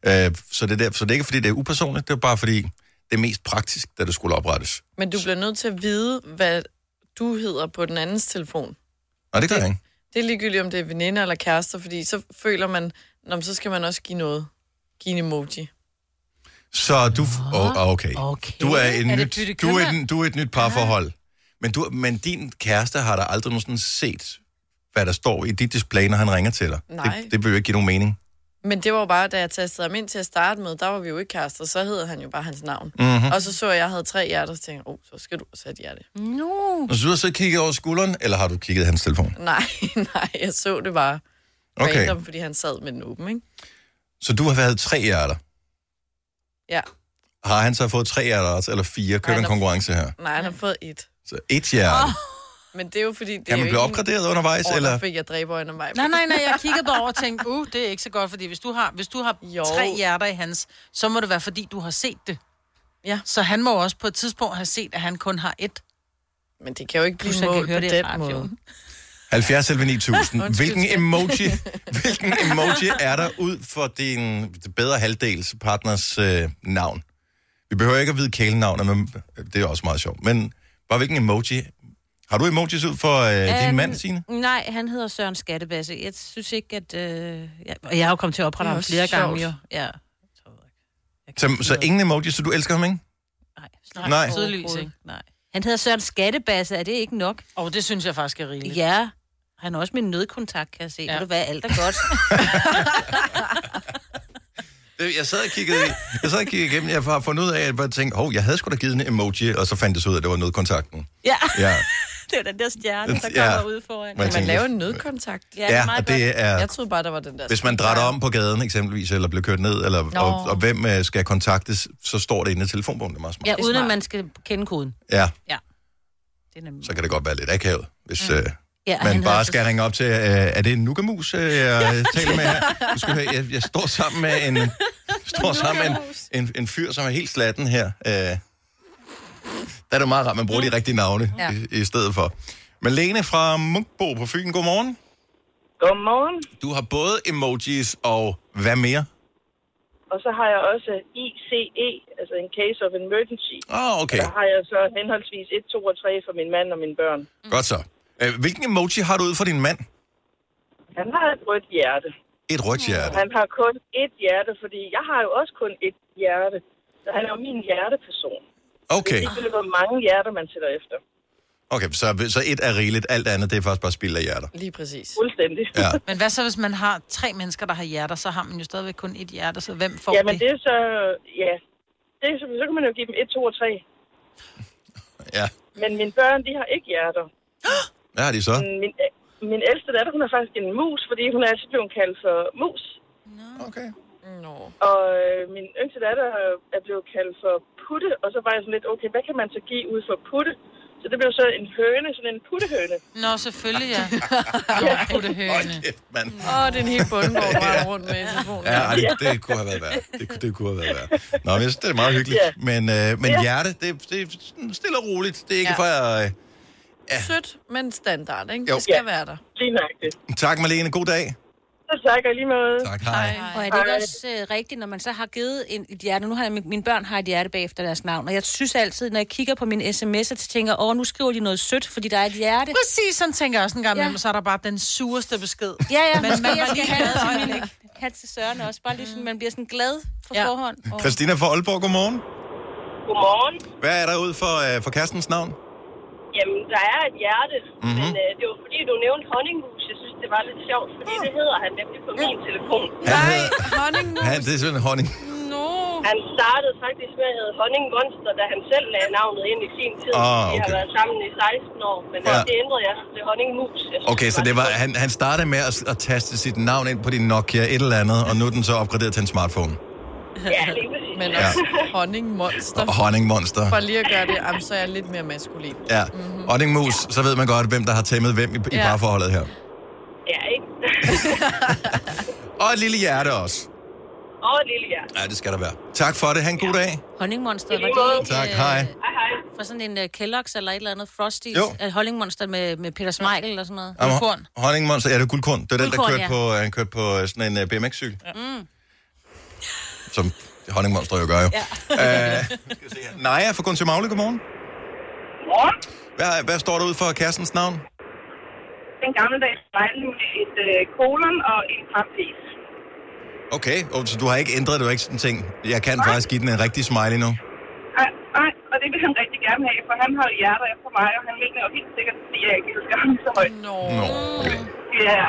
Speaker 3: Ja.
Speaker 1: Øh, så, det er der, så det er ikke, fordi det er upersonligt, det er bare fordi, det er mest praktisk, da det skulle oprettes.
Speaker 3: Men du bliver nødt til at vide, hvad du hedder på den andens telefon.
Speaker 1: Nej, det gør jeg ikke.
Speaker 3: Det er ligegyldigt, om det er veninder eller kærester, fordi så føler man, "Nå, men så skal man også give noget. Give en emoji.
Speaker 1: Så du... Oh, okay.
Speaker 2: Okay.
Speaker 1: Du er, en
Speaker 2: Er det
Speaker 1: nyt,
Speaker 2: bytte
Speaker 1: du, er
Speaker 2: købmand?
Speaker 1: et, du er et nyt parforhold. Men, du, men din kæreste har da aldrig nogensinde set, hvad der står i dit display, når han ringer til dig.
Speaker 3: Nej.
Speaker 1: Det, det vil jo ikke give nogen mening.
Speaker 3: Men det var jo bare, da jeg tastede ham ind til at starte med, der var vi jo ikke kærester, så hed han jo bare hans navn.
Speaker 1: Mhm.
Speaker 3: Og så så jeg, at jeg havde tre hjerter, og så tænkte jeg, oh, så skal du også have et hjerte.
Speaker 4: No.
Speaker 1: Og så du har så kigget over skulderen, eller har du kigget i hans telefon?
Speaker 3: Nej, [LAUGHS] nej, jeg så det bare
Speaker 1: Okay.
Speaker 3: okay. random, fordi han sad med den åben, ikke?
Speaker 1: Så du har været tre hjerter.
Speaker 3: Ja,
Speaker 1: Har han så fået tre hjerter også, eller fire? Kører
Speaker 3: Nej,
Speaker 1: der en
Speaker 3: der-
Speaker 1: konkurrence her?
Speaker 3: nej, han har fået et.
Speaker 1: Så et hjerte. Oh,
Speaker 3: Men det er jo fordi... Det er
Speaker 1: kan
Speaker 3: jo
Speaker 1: man blive
Speaker 3: ikke en-
Speaker 1: opgraderet undervejs,
Speaker 3: Åh,
Speaker 1: eller?
Speaker 3: der fik jeg dræber undervejs.
Speaker 2: Nej, nej, nej, jeg kiggede bare over og tænkte, uh, det er ikke så godt, fordi hvis du har, hvis du har
Speaker 3: Jo.
Speaker 2: jo. tre hjerter i hans, så må det være, fordi du har set det.
Speaker 3: Ja.
Speaker 2: Så han må jo også på et tidspunkt have set, at han kun har et.
Speaker 3: Men det kan jo ikke blive
Speaker 2: Plus, jeg kan
Speaker 3: målt på
Speaker 2: høre det i
Speaker 3: den
Speaker 2: radioen.
Speaker 3: måde.
Speaker 1: 70 selv 9000.
Speaker 3: Undskyld,
Speaker 1: Hvilken
Speaker 3: skat. [LAUGHS]
Speaker 1: emoji, hvilken emoji er der ud for din bedre halvdels partners øh, navn? Vi behøver ikke at vide kælenavnet, men øh, det er også meget sjovt. Men bare hvilken emoji? Har du emojis ud for øh, din
Speaker 4: Øhm,
Speaker 1: mand, Signe?
Speaker 4: Nej, han hedder Søren Skattebasse. Jeg synes ikke, at... Øh, jeg, og jeg har jo kommet til at oprette
Speaker 3: Det er
Speaker 4: ham
Speaker 3: også
Speaker 4: flere
Speaker 3: sjovt.
Speaker 4: gange, jo. Ja.
Speaker 1: Så, så ingen emojis, så du elsker ham, ikke?
Speaker 4: Nej,
Speaker 2: Nej.
Speaker 1: Nej.
Speaker 2: Tydeligvis, ikke?
Speaker 4: nej. Han hedder Søren Skattebasse, er det ikke nok?
Speaker 2: Og oh, det synes jeg faktisk er rigeligt.
Speaker 4: Ja. Han er også min nødkontakt, kan jeg se. Ja.
Speaker 2: Ja.
Speaker 4: Ved du hvad, alt er godt.
Speaker 1: Det- Jeg sad og kiggede, i- jeg sad og kiggede igennem, jeg har fundet ud af, at jeg bare tænkte, hov, jeg havde sgu da givet en emoji, og så fandt det så ud af, at det var nødkontakten.
Speaker 4: ja,
Speaker 1: [LAUGHS] Ja,
Speaker 4: [LAUGHS] det er den der stjerne, der
Speaker 1: Ja.
Speaker 4: kommer ud foran.
Speaker 1: Men-
Speaker 4: Ja,
Speaker 3: Kan man
Speaker 1: tænker-
Speaker 3: lave en nødkontakt? Ja.
Speaker 4: det
Speaker 1: ja
Speaker 4: er meget
Speaker 1: og det er...
Speaker 3: Jeg troede bare, der var den der...
Speaker 1: Hvis man drætter om på gaden eksempelvis, eller bliver kørt ned, eller,
Speaker 3: Nå.
Speaker 1: og, og hvem øh, skal kontaktes, så står det inde i telefonbogen. Det er meget smart.
Speaker 4: godt. Ja, uden at
Speaker 3: smart.
Speaker 4: man skal kende koden.
Speaker 1: Ja,
Speaker 4: Det er nemlig.
Speaker 1: så kan det godt være lidt akavet, hvis øh,
Speaker 4: Ja, han
Speaker 1: man
Speaker 4: hedder
Speaker 1: bare
Speaker 4: altså-
Speaker 1: skal ringe op til, øh, er det en nukamus,
Speaker 4: [LAUGHS]
Speaker 1: øh, jeg taler med her? Du skal høre, jeg, jeg står sammen med en, står sammen med en, en, en fyr, som er helt slatten her. Øh, der er det meget rart, man bruger de rigtige navne ja. i, i stedet for. Men Lene fra Munkbo på Fyn, godmorgen.
Speaker 8: Godmorgen.
Speaker 1: Du har både emojis og hvad mere?
Speaker 8: Og så har jeg også ICE, altså en case of emergency.
Speaker 1: Åh, oh, okay.
Speaker 8: Der har jeg så henholdsvis 1, 2 og 3 for min mand og mine børn.
Speaker 1: Godt så. Øh, Hvilken emoji har du ud for din mand?
Speaker 8: Han har et rødt hjerte.
Speaker 1: Et rødt hjerte.
Speaker 8: Han har kun et hjerte, fordi jeg har jo også kun et hjerte. Så han er jo min hjerteperson.
Speaker 1: Okay,
Speaker 8: Det er hvor mange hjerter, man sætter efter.
Speaker 1: okay så, så et er rigeligt, alt andet det er faktisk bare spild af hjerter.
Speaker 3: Lige præcis.
Speaker 8: Fuldstændig.
Speaker 1: Ja.
Speaker 2: Men hvad så, hvis man har tre mennesker, der har hjerter, så har man jo stadigvæk kun et hjerte, så hvem får
Speaker 8: Jamen
Speaker 2: det?
Speaker 8: det er så... Ja. Det er, så, så kan man jo give dem 1, 2 og 3.
Speaker 1: ja.
Speaker 8: Men mine børn, de har ikke hjerter.
Speaker 1: Hvad har de så?
Speaker 8: Min, min ældste datter, hun er faktisk en mus, fordi hun er altid blevet kaldt for mus.
Speaker 1: Okay.
Speaker 3: Nå.
Speaker 8: Og øh, min yngste datter øh, er blevet kaldt for putte, og så var jeg sådan lidt, okay, hvad kan man så give ud for putte? Så det blev så en høne, sådan en puttehøne.
Speaker 2: Nå, selvfølgelig,
Speaker 8: [LAUGHS]
Speaker 2: ja. Nå, puttehøne.
Speaker 1: Hold kæft, mand.
Speaker 3: Åh, det er en helt
Speaker 8: [LAUGHS]
Speaker 3: bundgård, hvor jeg rundt med i telefonen.
Speaker 1: Ja,
Speaker 3: [LAUGHS]
Speaker 1: ej, det, det kunne have været værd. Det, kunne- det kunne have været værd. Nå, men jeg synes, det er meget hyggeligt.
Speaker 8: Ja.
Speaker 1: Men, øh, men hjerte, det, det er sådan stille og roligt. Det er ikke
Speaker 3: Ja.
Speaker 1: for... Øh,
Speaker 3: Sødt, men standard, ikke?
Speaker 1: Jo.
Speaker 3: Det skal
Speaker 8: Ja.
Speaker 3: være der.
Speaker 8: Lige nøjagtigt.
Speaker 1: tak, Malene. God dag.
Speaker 8: Så tak og lige måde.
Speaker 1: Tak, hej.
Speaker 4: Og er det ikke også øh, rigtigt, når man så har givet en, et hjerte? Nu har jeg, min- mine børn har et hjerte bag efter deres navn, og jeg synes altid, når jeg kigger på mine sms'er, så tænker jeg, åh, nu skriver de noget sødt, fordi der er et hjerte.
Speaker 2: Præcis, sådan tænker jeg også en gang
Speaker 4: Ja.
Speaker 2: imellem, så er der bare den sureste besked.
Speaker 4: Ja, ja,
Speaker 2: Men
Speaker 4: men måske
Speaker 2: man
Speaker 4: jeg
Speaker 2: var
Speaker 4: skal
Speaker 2: lige
Speaker 4: have det
Speaker 2: glad
Speaker 4: til, min, have det til Søren også. Bare lige sådan, man bliver sådan glad for
Speaker 2: Ja.
Speaker 4: ja. forhånd. Og...
Speaker 1: Christina fra Aalborg, godmorgen.
Speaker 8: Godmorgen.
Speaker 1: Hvad er der ud for, øh, for kærestens navn?
Speaker 8: Jamen, der er et hjerte,
Speaker 1: Mhm.
Speaker 8: mm-hmm. men øh, det var fordi, du nævnte honningmus. Jeg synes, det var lidt sjovt, fordi det hedder han nemlig på min telefon.
Speaker 3: Nej,
Speaker 1: hedder-
Speaker 3: honning nu.
Speaker 1: Ja, det er sådan en honning.
Speaker 3: No.
Speaker 8: Han startede faktisk med at hedde Honningmonster, da han selv lagde navnet ind i sin tid.
Speaker 1: Ah,
Speaker 8: Vi har
Speaker 1: okay.
Speaker 8: været sammen i 16 år, men
Speaker 1: Ja.
Speaker 8: ja. det ændrede jeg til Honningmus. Jeg synes,
Speaker 1: Okay, så det var, han, han startede med at, at taste sit navn ind på din Nokia et eller andet, og nu er den så opgraderet til en smartphone.
Speaker 8: Ja, lige præcis.
Speaker 3: Men også honningmonster.
Speaker 1: Og honningmonster.
Speaker 3: For lige at gøre det, jamen, så er jeg lidt mere maskulin.
Speaker 1: Ja. Honningmus, så ved man godt, hvem der har tæmmet hvem i, i
Speaker 3: Ja.
Speaker 1: parforholdet her.
Speaker 8: Ja, ikke?
Speaker 1: Og et lille hjerte også.
Speaker 8: Og et lille hjerte.
Speaker 1: Ja, det skal der være. Tak for det. Ha' en god dag.
Speaker 4: Honningmonster,
Speaker 8: I lige
Speaker 4: var det
Speaker 8: måde.
Speaker 4: ikke,
Speaker 1: Tak,
Speaker 4: øh,
Speaker 1: hej.
Speaker 8: Hej, hej.
Speaker 4: fra sådan en uh, Kellogg's eller et eller andet Frosties?
Speaker 1: Jo.
Speaker 4: Jo. Honningmonster med, med Peter Smeichel eller sådan noget?
Speaker 1: Jamen,
Speaker 2: Guldkorn.
Speaker 1: hon- Honningmonster, ja, det er guldkorn. Det er den, der
Speaker 4: Guldkorn,
Speaker 1: kørte, på, han kørte på øh, sådan en øh, BMX-cykel. Mm. Som honningmonster jo gør, jo. [LAUGHS] Ja. Uh, Naja fra Gunsø Magle, godmorgen.
Speaker 8: Morgen.
Speaker 1: Hvad, hvad står der ud for kærestens navn?
Speaker 8: Den gamle dag spejl nu et øh, kolon og en parentes.
Speaker 1: Okay, og så du har ikke ændret, du har ikke sådan ting. Jeg kan faktisk give den en rigtig smiley nu.
Speaker 8: Nej, nej, og det vil han rigtig gerne have, for han har jo hjerter efter mig, og han mener jo helt sikkert, at jeg ikke elsker ham så højt.
Speaker 3: Nå.
Speaker 1: Nå, okay.
Speaker 8: Ja,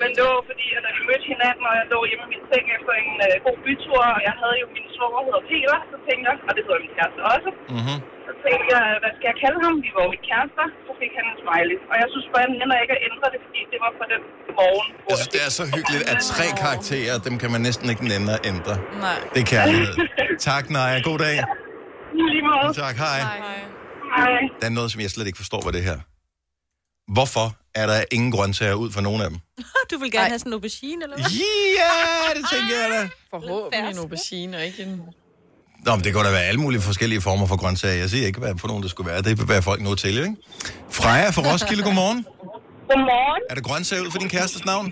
Speaker 8: Men det var fordi, at da vi mødte hinanden, og jeg lå hjemme i min seng efter en øh, god bytur, og jeg havde jo min svoger, der hedder Peter, så tænkte jeg, og det hedder min kæreste også,
Speaker 1: Mm-hmm.
Speaker 8: så tænkte jeg, hvad skal jeg kalde ham? Vi var jo ikke kærester, så fik han en smiley. Og jeg synes bare, at jeg ikke at ændre det, fordi det var fra den morgen, hvor
Speaker 1: Jeg synes, det er så hyggeligt, at tre karakterer, dem kan man næsten ikke nænde at ændre.
Speaker 3: Nej.
Speaker 1: Det er
Speaker 7: [LAUGHS]
Speaker 1: kærlighed. Tak, Naja. God dag.
Speaker 8: Lige lige måde.
Speaker 1: Tak, hej.
Speaker 3: Nej.
Speaker 8: Hej.
Speaker 1: Der er noget, som jeg slet ikke forstår, hvad det her. Hvorfor er der ingen grøntsager ud for nogen af dem?
Speaker 4: [LAUGHS] Du vil gerne Ej. have sådan en aubergine, eller hvad?
Speaker 1: Ja, det tænker jeg da.
Speaker 3: Forhåbentlig en
Speaker 4: fersk.
Speaker 3: aubergine, og ikke en...
Speaker 1: Nå, men det kan da være alle mulige forskellige former for grøntsager. Jeg siger ikke, hvad for nogen det skulle være. Det bærer folk nu til, ikke? Freja fra Roskilde, godmorgen.
Speaker 8: Godmorgen.
Speaker 1: Er der grøntsager ud for din kærestes navn?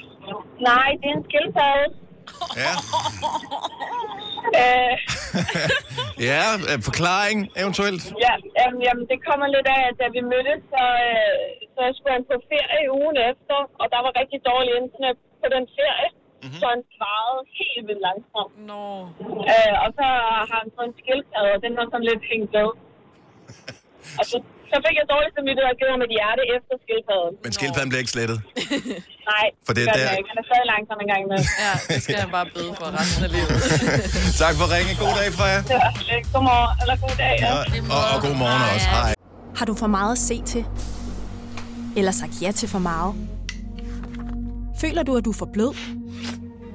Speaker 8: Nej, det er en skildpadde.
Speaker 1: Ja.
Speaker 8: Øh,
Speaker 1: Ja, øh, forklaring eventuelt.
Speaker 8: ja, jamen, jamen, det kommer lidt af, at da vi mødtes, så, øh, så skulle han på ferie ugen efter, og der var rigtig dårlig internet på den ferie.
Speaker 1: Mhm.
Speaker 8: Mm-hmm. Så han svarede helt vildt langsomt.
Speaker 3: Nå.
Speaker 8: Øh, og så har han fået en skildpadde, og den har sådan lidt hængt
Speaker 1: [LAUGHS]
Speaker 8: ved. Og så, så fik jeg dårligt samvittighed og givet ham et hjerte efter skildpadden.
Speaker 1: Men skildpadden bliver ikke slettet.
Speaker 8: Nej,
Speaker 1: For det er
Speaker 8: gør den
Speaker 1: der-
Speaker 8: ikke. Han er stadig langsom en gang imellem.
Speaker 3: Ja, det skal jeg bare bøde for resten af livet.
Speaker 1: Tak for ringen. God dag, Freja.
Speaker 8: Ja, øh, Godmorgen, eller god dag. Ja.
Speaker 1: Og, og god morgen også. Hej.
Speaker 9: Har du for meget at se til? Eller sagt ja til for meget? Føler du, at du er for blød?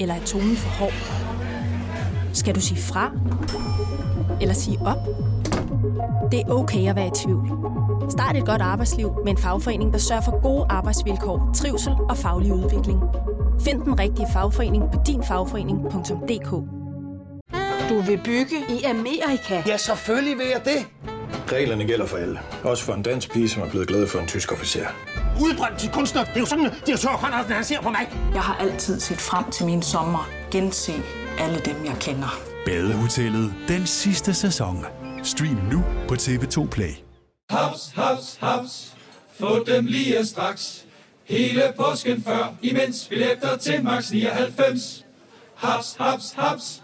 Speaker 9: Eller er tonen for hård? Skal du sige fra? Eller sige op? Det er okay at være i tvivl. Start et godt arbejdsliv med en fagforening, der sørger for gode arbejdsvilkår, trivsel og faglig udvikling. Find den rigtige fagforening på dinfagforening.dk
Speaker 10: Du vil bygge i Amerika?
Speaker 7: Ja, selvfølgelig vil jeg det.
Speaker 11: Reglerne gælder for alle. Også for en dansk pige, som er blevet glad for en tysk officer.
Speaker 7: Udbrændt til kunstner. Det er jo sådan, at de har tørt, han ser på mig.
Speaker 10: Jeg har altid set frem til min sommer. Gense alle dem, jeg kender.
Speaker 12: Badehotellet den sidste sæson. Stream nu på TV2 Play.
Speaker 13: Haps, haps, haps. Få dem lige straks. Hele påsken før, imens billetter til max 99. Haps, haps, haps.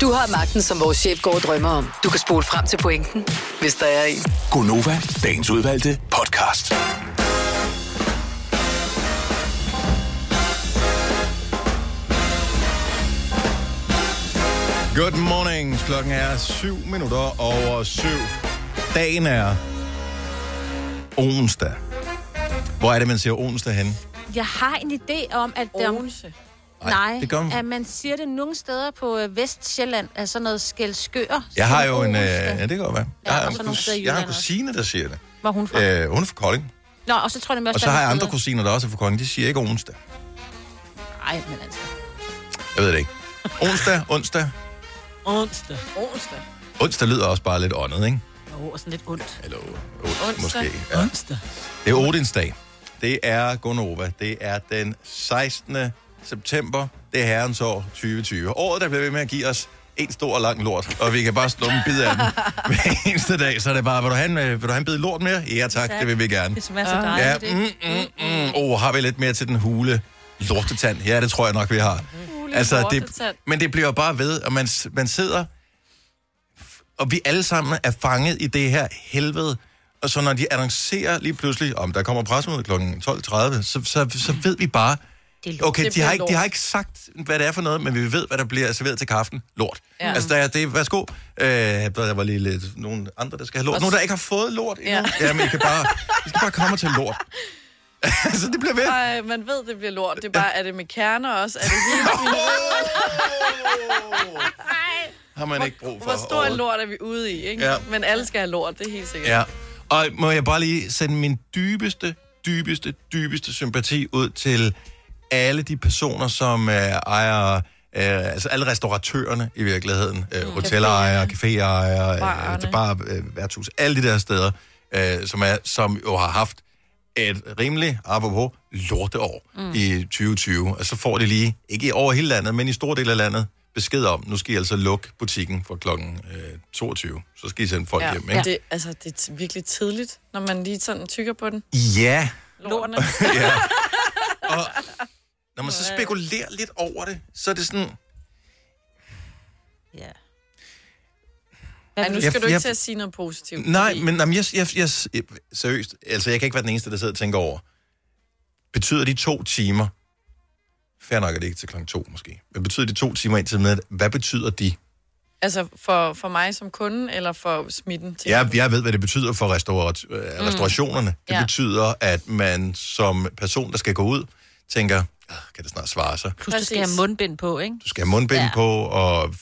Speaker 5: Du har magten, som vores chef går og drømmer om. Du kan spole frem til pointen, hvis der er en.
Speaker 6: Gonova, dagens udvalgte podcast.
Speaker 1: Good morning. Klokken er 7 minutter over 7. Dagen er onsdag. Hvor er det, man siger onsdag hen?
Speaker 4: Jeg har en idé om, at... Onse. Nej,
Speaker 1: det gør man.
Speaker 4: at man siger det nogle steder på øh, Vestjylland, altså sådan noget skældskør.
Speaker 1: Jeg har jo en... Øh,
Speaker 4: Onsdag.
Speaker 1: ja, det kan godt være.
Speaker 4: Ja,
Speaker 1: Jeg har,
Speaker 4: og
Speaker 1: en,
Speaker 4: så nogle steder i
Speaker 1: kus- jeg har en
Speaker 4: Jylland også.
Speaker 1: kusine, der siger det.
Speaker 4: Hvor er hun fra?
Speaker 1: Øh, hun er fra Kolding.
Speaker 4: Nå, og så tror jeg, det
Speaker 1: Og
Speaker 4: også
Speaker 1: så har jeg
Speaker 4: er
Speaker 1: andre
Speaker 4: noget-
Speaker 1: kusiner, der også er fra Kolding. De siger ikke onsdag.
Speaker 4: Ej, men altså.
Speaker 1: Jeg ved det ikke. Onsdag, onsdag.
Speaker 2: Onsdag.
Speaker 3: Onsdag.
Speaker 1: Onsdag lyder også bare lidt åndet, ikke?
Speaker 2: Åh, og sådan lidt ondt.
Speaker 1: Eller
Speaker 2: onsdag.
Speaker 1: Måske. Ja.
Speaker 2: Onsdag.
Speaker 1: Det er Odins dag. Det er Gonova. Det er den 16. september. Det er herrens år 2020. Året, der bliver ved med at give os en stor og lang lort, og vi kan bare slå en bid af
Speaker 2: [LAUGHS]
Speaker 1: den hver eneste dag. Så er det bare, vil du have en, øh, vil du have en bid lort mere? Ja tak, det vil vi gerne.
Speaker 2: Det smager så dejligt,
Speaker 1: ja, mm, mm, mm. Oh, har vi lidt mere til den hule lortetand? Ja, det tror jeg nok, vi har. Altså,
Speaker 3: Hule
Speaker 1: det,
Speaker 3: lortetand.
Speaker 1: men det bliver bare ved, og man, s- man sidder, f- og vi alle sammen er fanget i det her helvede. Og så når de annoncerer lige pludselig, om der kommer pressemøde kl. 12.30, så, så, så ved vi bare, okay,
Speaker 14: Det
Speaker 1: de har,
Speaker 14: bliver
Speaker 1: ikke, de
Speaker 14: lort.
Speaker 1: har ikke sagt, hvad det er for noget, men vi ved, hvad der bliver serveret til kaffen. Lort. Ja.
Speaker 14: Ja.
Speaker 1: Altså, der er det, værsgo. Øh, der var lige lidt, nogle andre, der skal have lort.
Speaker 14: Og
Speaker 1: Nogle, der
Speaker 14: s-
Speaker 1: ikke har fået lort endnu. Ja.
Speaker 3: Ja.
Speaker 1: Jamen, I kan bare, I skal bare komme til lort. altså, det bliver ved.
Speaker 3: Ej, man ved, det bliver lort. Det er bare, er det med kerner også? Er det
Speaker 1: [LAUGHS]
Speaker 3: hele svineriet?
Speaker 1: Har man ikke brug for
Speaker 3: Hvor stor
Speaker 1: overhovedet.
Speaker 3: en lort er vi ude i, ikke?
Speaker 1: Ja.
Speaker 3: Ja. Men alle skal have lort, det er helt sikkert.
Speaker 1: Ja. Og må jeg bare lige sende min dybeste, dybeste, dybeste sympati ud til alle de personer, som øh, ejer, øh, altså alle restauratørerne i virkeligheden, øh, hotellerejere, caféejere, øh, det er bare øh, værtshus, alle de der steder, øh, som, er, som jo har haft et rimelig, apropos, lorteår mm.
Speaker 14: Mm.
Speaker 1: i 2020. Og så får de lige, ikke i- over hele landet, men i store dele af landet, besked om, nu skal I altså lukke butikken fra klokken øh, 22. Så skal I sende folk ja. hjem,
Speaker 3: Ja.
Speaker 1: ikke?
Speaker 3: Det, altså, det er t- virkelig tidligt, når man lige sådan tykker på den.
Speaker 1: Ja.
Speaker 3: Lortene.
Speaker 1: [LAUGHS] ja. Og når man så spekulerer lidt over det, så er det sådan...
Speaker 2: Ja.
Speaker 3: Ja, nu
Speaker 1: Jeg-
Speaker 3: skal du ikke
Speaker 1: jeg-
Speaker 3: til at sige noget positivt.
Speaker 1: Nej,
Speaker 3: fordi-
Speaker 1: men jamen, jeg, jeg, jeg, seriøst, altså jeg kan ikke være den eneste, der sidder og tænker over, betyder de to timer, fair nok er det ikke til klokken to måske, men betyder de to timer indtil med, hvad betyder de?
Speaker 3: Altså, for, for mig som kunde, eller for smitten? til-
Speaker 1: Jeg, jeg ved, hvad det betyder for restaurat, øh, restaurationerne. Det
Speaker 3: Ja.
Speaker 1: betyder, at man som person, der skal gå ud, tænker, "Ah, kan det snart svare sig?
Speaker 4: Plus, du skal have mundbind på, ikke?
Speaker 1: Du skal have mundbind ja. på og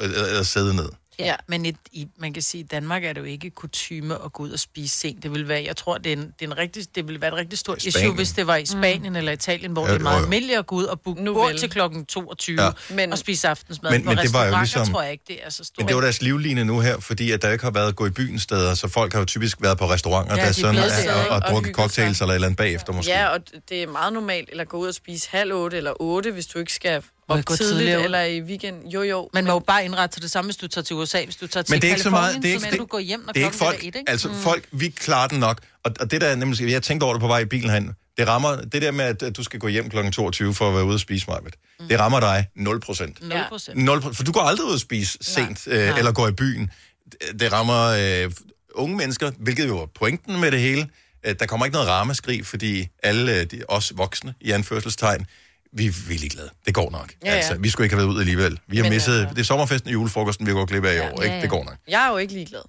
Speaker 1: eller, eller sidde ned.
Speaker 2: Ja. Men et, i, man kan sige, at i Danmark er det jo ikke kutyme at gå ud og spise sent. Det vil være, jeg tror, det, er en, det, er en rigtig, det vil være et rigtig stort issue,
Speaker 1: Spanien.
Speaker 2: hvis det var i Spanien mm. eller Italien, hvor
Speaker 1: Ja,
Speaker 2: ja, det
Speaker 1: jo,
Speaker 2: er meget
Speaker 1: jo.
Speaker 2: almindeligt at gå ud og booke bord til klokken 22
Speaker 1: Ja.
Speaker 2: ja. men, og spise aftensmad.
Speaker 1: Men-
Speaker 2: Hvor
Speaker 1: men det var jo
Speaker 2: restauranter
Speaker 1: ligesom-
Speaker 2: tror jeg ikke, det er så stort.
Speaker 1: Men det var deres livline nu her, fordi at der ikke har været at gå i byen steder, så folk har jo typisk været på restauranter,
Speaker 3: Ja,
Speaker 1: der
Speaker 3: de er
Speaker 1: sådan
Speaker 3: blevet
Speaker 1: er,
Speaker 3: siddet,
Speaker 1: og,
Speaker 3: ikke?
Speaker 1: og
Speaker 3: Og
Speaker 1: drukket
Speaker 3: hygget sig.
Speaker 1: cocktails eller et eller andet bagefter måske.
Speaker 3: Ja, og d- det er meget normalt, eller gå ud og spise halv otte eller otte, hvis du ikke skal
Speaker 2: Må
Speaker 3: op
Speaker 2: jeg gå
Speaker 3: tidligt,
Speaker 2: tidligere
Speaker 3: tidligt
Speaker 2: ud?
Speaker 3: eller i weekend. Jo, jo.
Speaker 2: Man må jo bare indrette til det samme, hvis du tager til USA, hvis du tager til
Speaker 1: Men det er ikke så
Speaker 2: Californien,
Speaker 1: meget. Det er ikke,
Speaker 2: så må du gå hjem, når
Speaker 1: det er ikke folk.
Speaker 2: klokken er et, ikke? Mm.
Speaker 1: Altså folk, vi klarer den nok. Og, og det der er nemlig, jeg tænkte over det på vej i bilen herinde. Det rammer det der med, at, at du skal gå hjem kl. 22 for at være ude og spise mig. Mm. Det rammer dig 0 procent.
Speaker 2: 0 procent.
Speaker 1: 0 For du går aldrig ud og spise sent øh,
Speaker 2: Nej.
Speaker 1: eller går i byen. Det, det rammer øh, unge mennesker, hvilket jo er pointen med det hele. Øh, der kommer ikke noget ramaskrig, fordi alle øh, de, os voksne i anførselstegn, vi, vi er ligeglade. Det går nok.
Speaker 3: Ja, ja.
Speaker 1: Altså, vi skulle ikke have været ud alligevel. Vi har
Speaker 3: Men, altså-
Speaker 1: misset... Det er sommerfesten og julefrokosten, vi går glip af i år, ikke? Det går nok.
Speaker 3: Jeg er jo ikke ligeglad.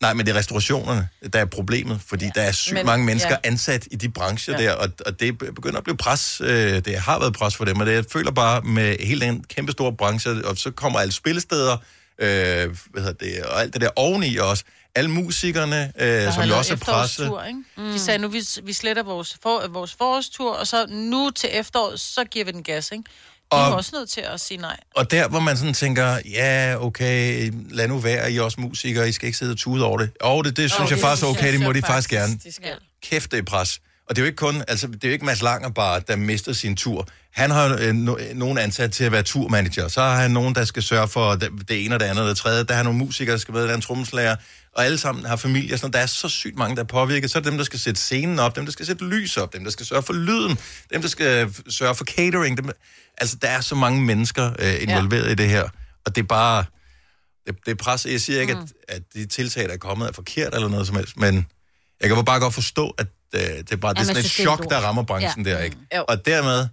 Speaker 1: Nej, men det er restaurationerne, der er problemet, fordi ja. der er sygt
Speaker 3: Men-
Speaker 1: mange mennesker ja.
Speaker 3: ja.
Speaker 1: ansat i de brancher
Speaker 3: Ja.
Speaker 1: ja. der, og, og det begynder at blive pres. Øh, det har været pres for dem, og det jeg føler bare med hele den kæmpe store branche, og så kommer alle spillesteder, øh, hvad hedder det, og alt det der oveni også. Alle musikerne, øh, som jo også er presset.
Speaker 2: Mm. De sagde, nu vi, vi sletter vores, for, vores forårstur, og så nu til efteråret, så giver vi den gas, ikke? De
Speaker 1: Og-
Speaker 2: er jo også nødt til at sige nej.
Speaker 1: Og der, hvor man sådan tænker, ja, okay, lad nu være, I er også musikere, I skal ikke sidde og tude over det. Og det, det synes jeg
Speaker 2: det
Speaker 1: faktisk er
Speaker 2: synes
Speaker 1: okay,
Speaker 2: jeg
Speaker 1: det må de
Speaker 2: faktisk,
Speaker 1: faktisk gerne.
Speaker 2: de skal.
Speaker 1: Kæft, det er pres. Og det er jo ikke kun, altså det er jo ikke Mads Langer bare, der mister sin tur. Han har jo, øh, no, øh, nogen ansat til at være turmanager. Så har han nogen, der skal sørge for det, det ene og det andet og det tredje. Der har nogle musikere, der skal være der er en trommeslager. Og alle sammen har familier. Sådan, der er så sygt mange, der er påvirket. Så er det dem, der skal sætte scenen op, dem, der skal sætte lys op, dem, der skal sørge for lyden, dem, der skal øh, sørge for catering. Dem, altså, der er så mange mennesker øh, involveret ja. i det her. Og det er bare... Det, det er pres. Jeg siger ikke, mm. at, at de tiltag, der er kommet, er forkert eller noget som helst, men jeg kan bare godt forstå, at øh, det er bare det er
Speaker 4: man
Speaker 1: sådan et
Speaker 4: synes, det er
Speaker 1: chok,
Speaker 4: lort.
Speaker 1: der rammer branchen
Speaker 4: Ja. Mm.
Speaker 1: der, ikke? Og dermed,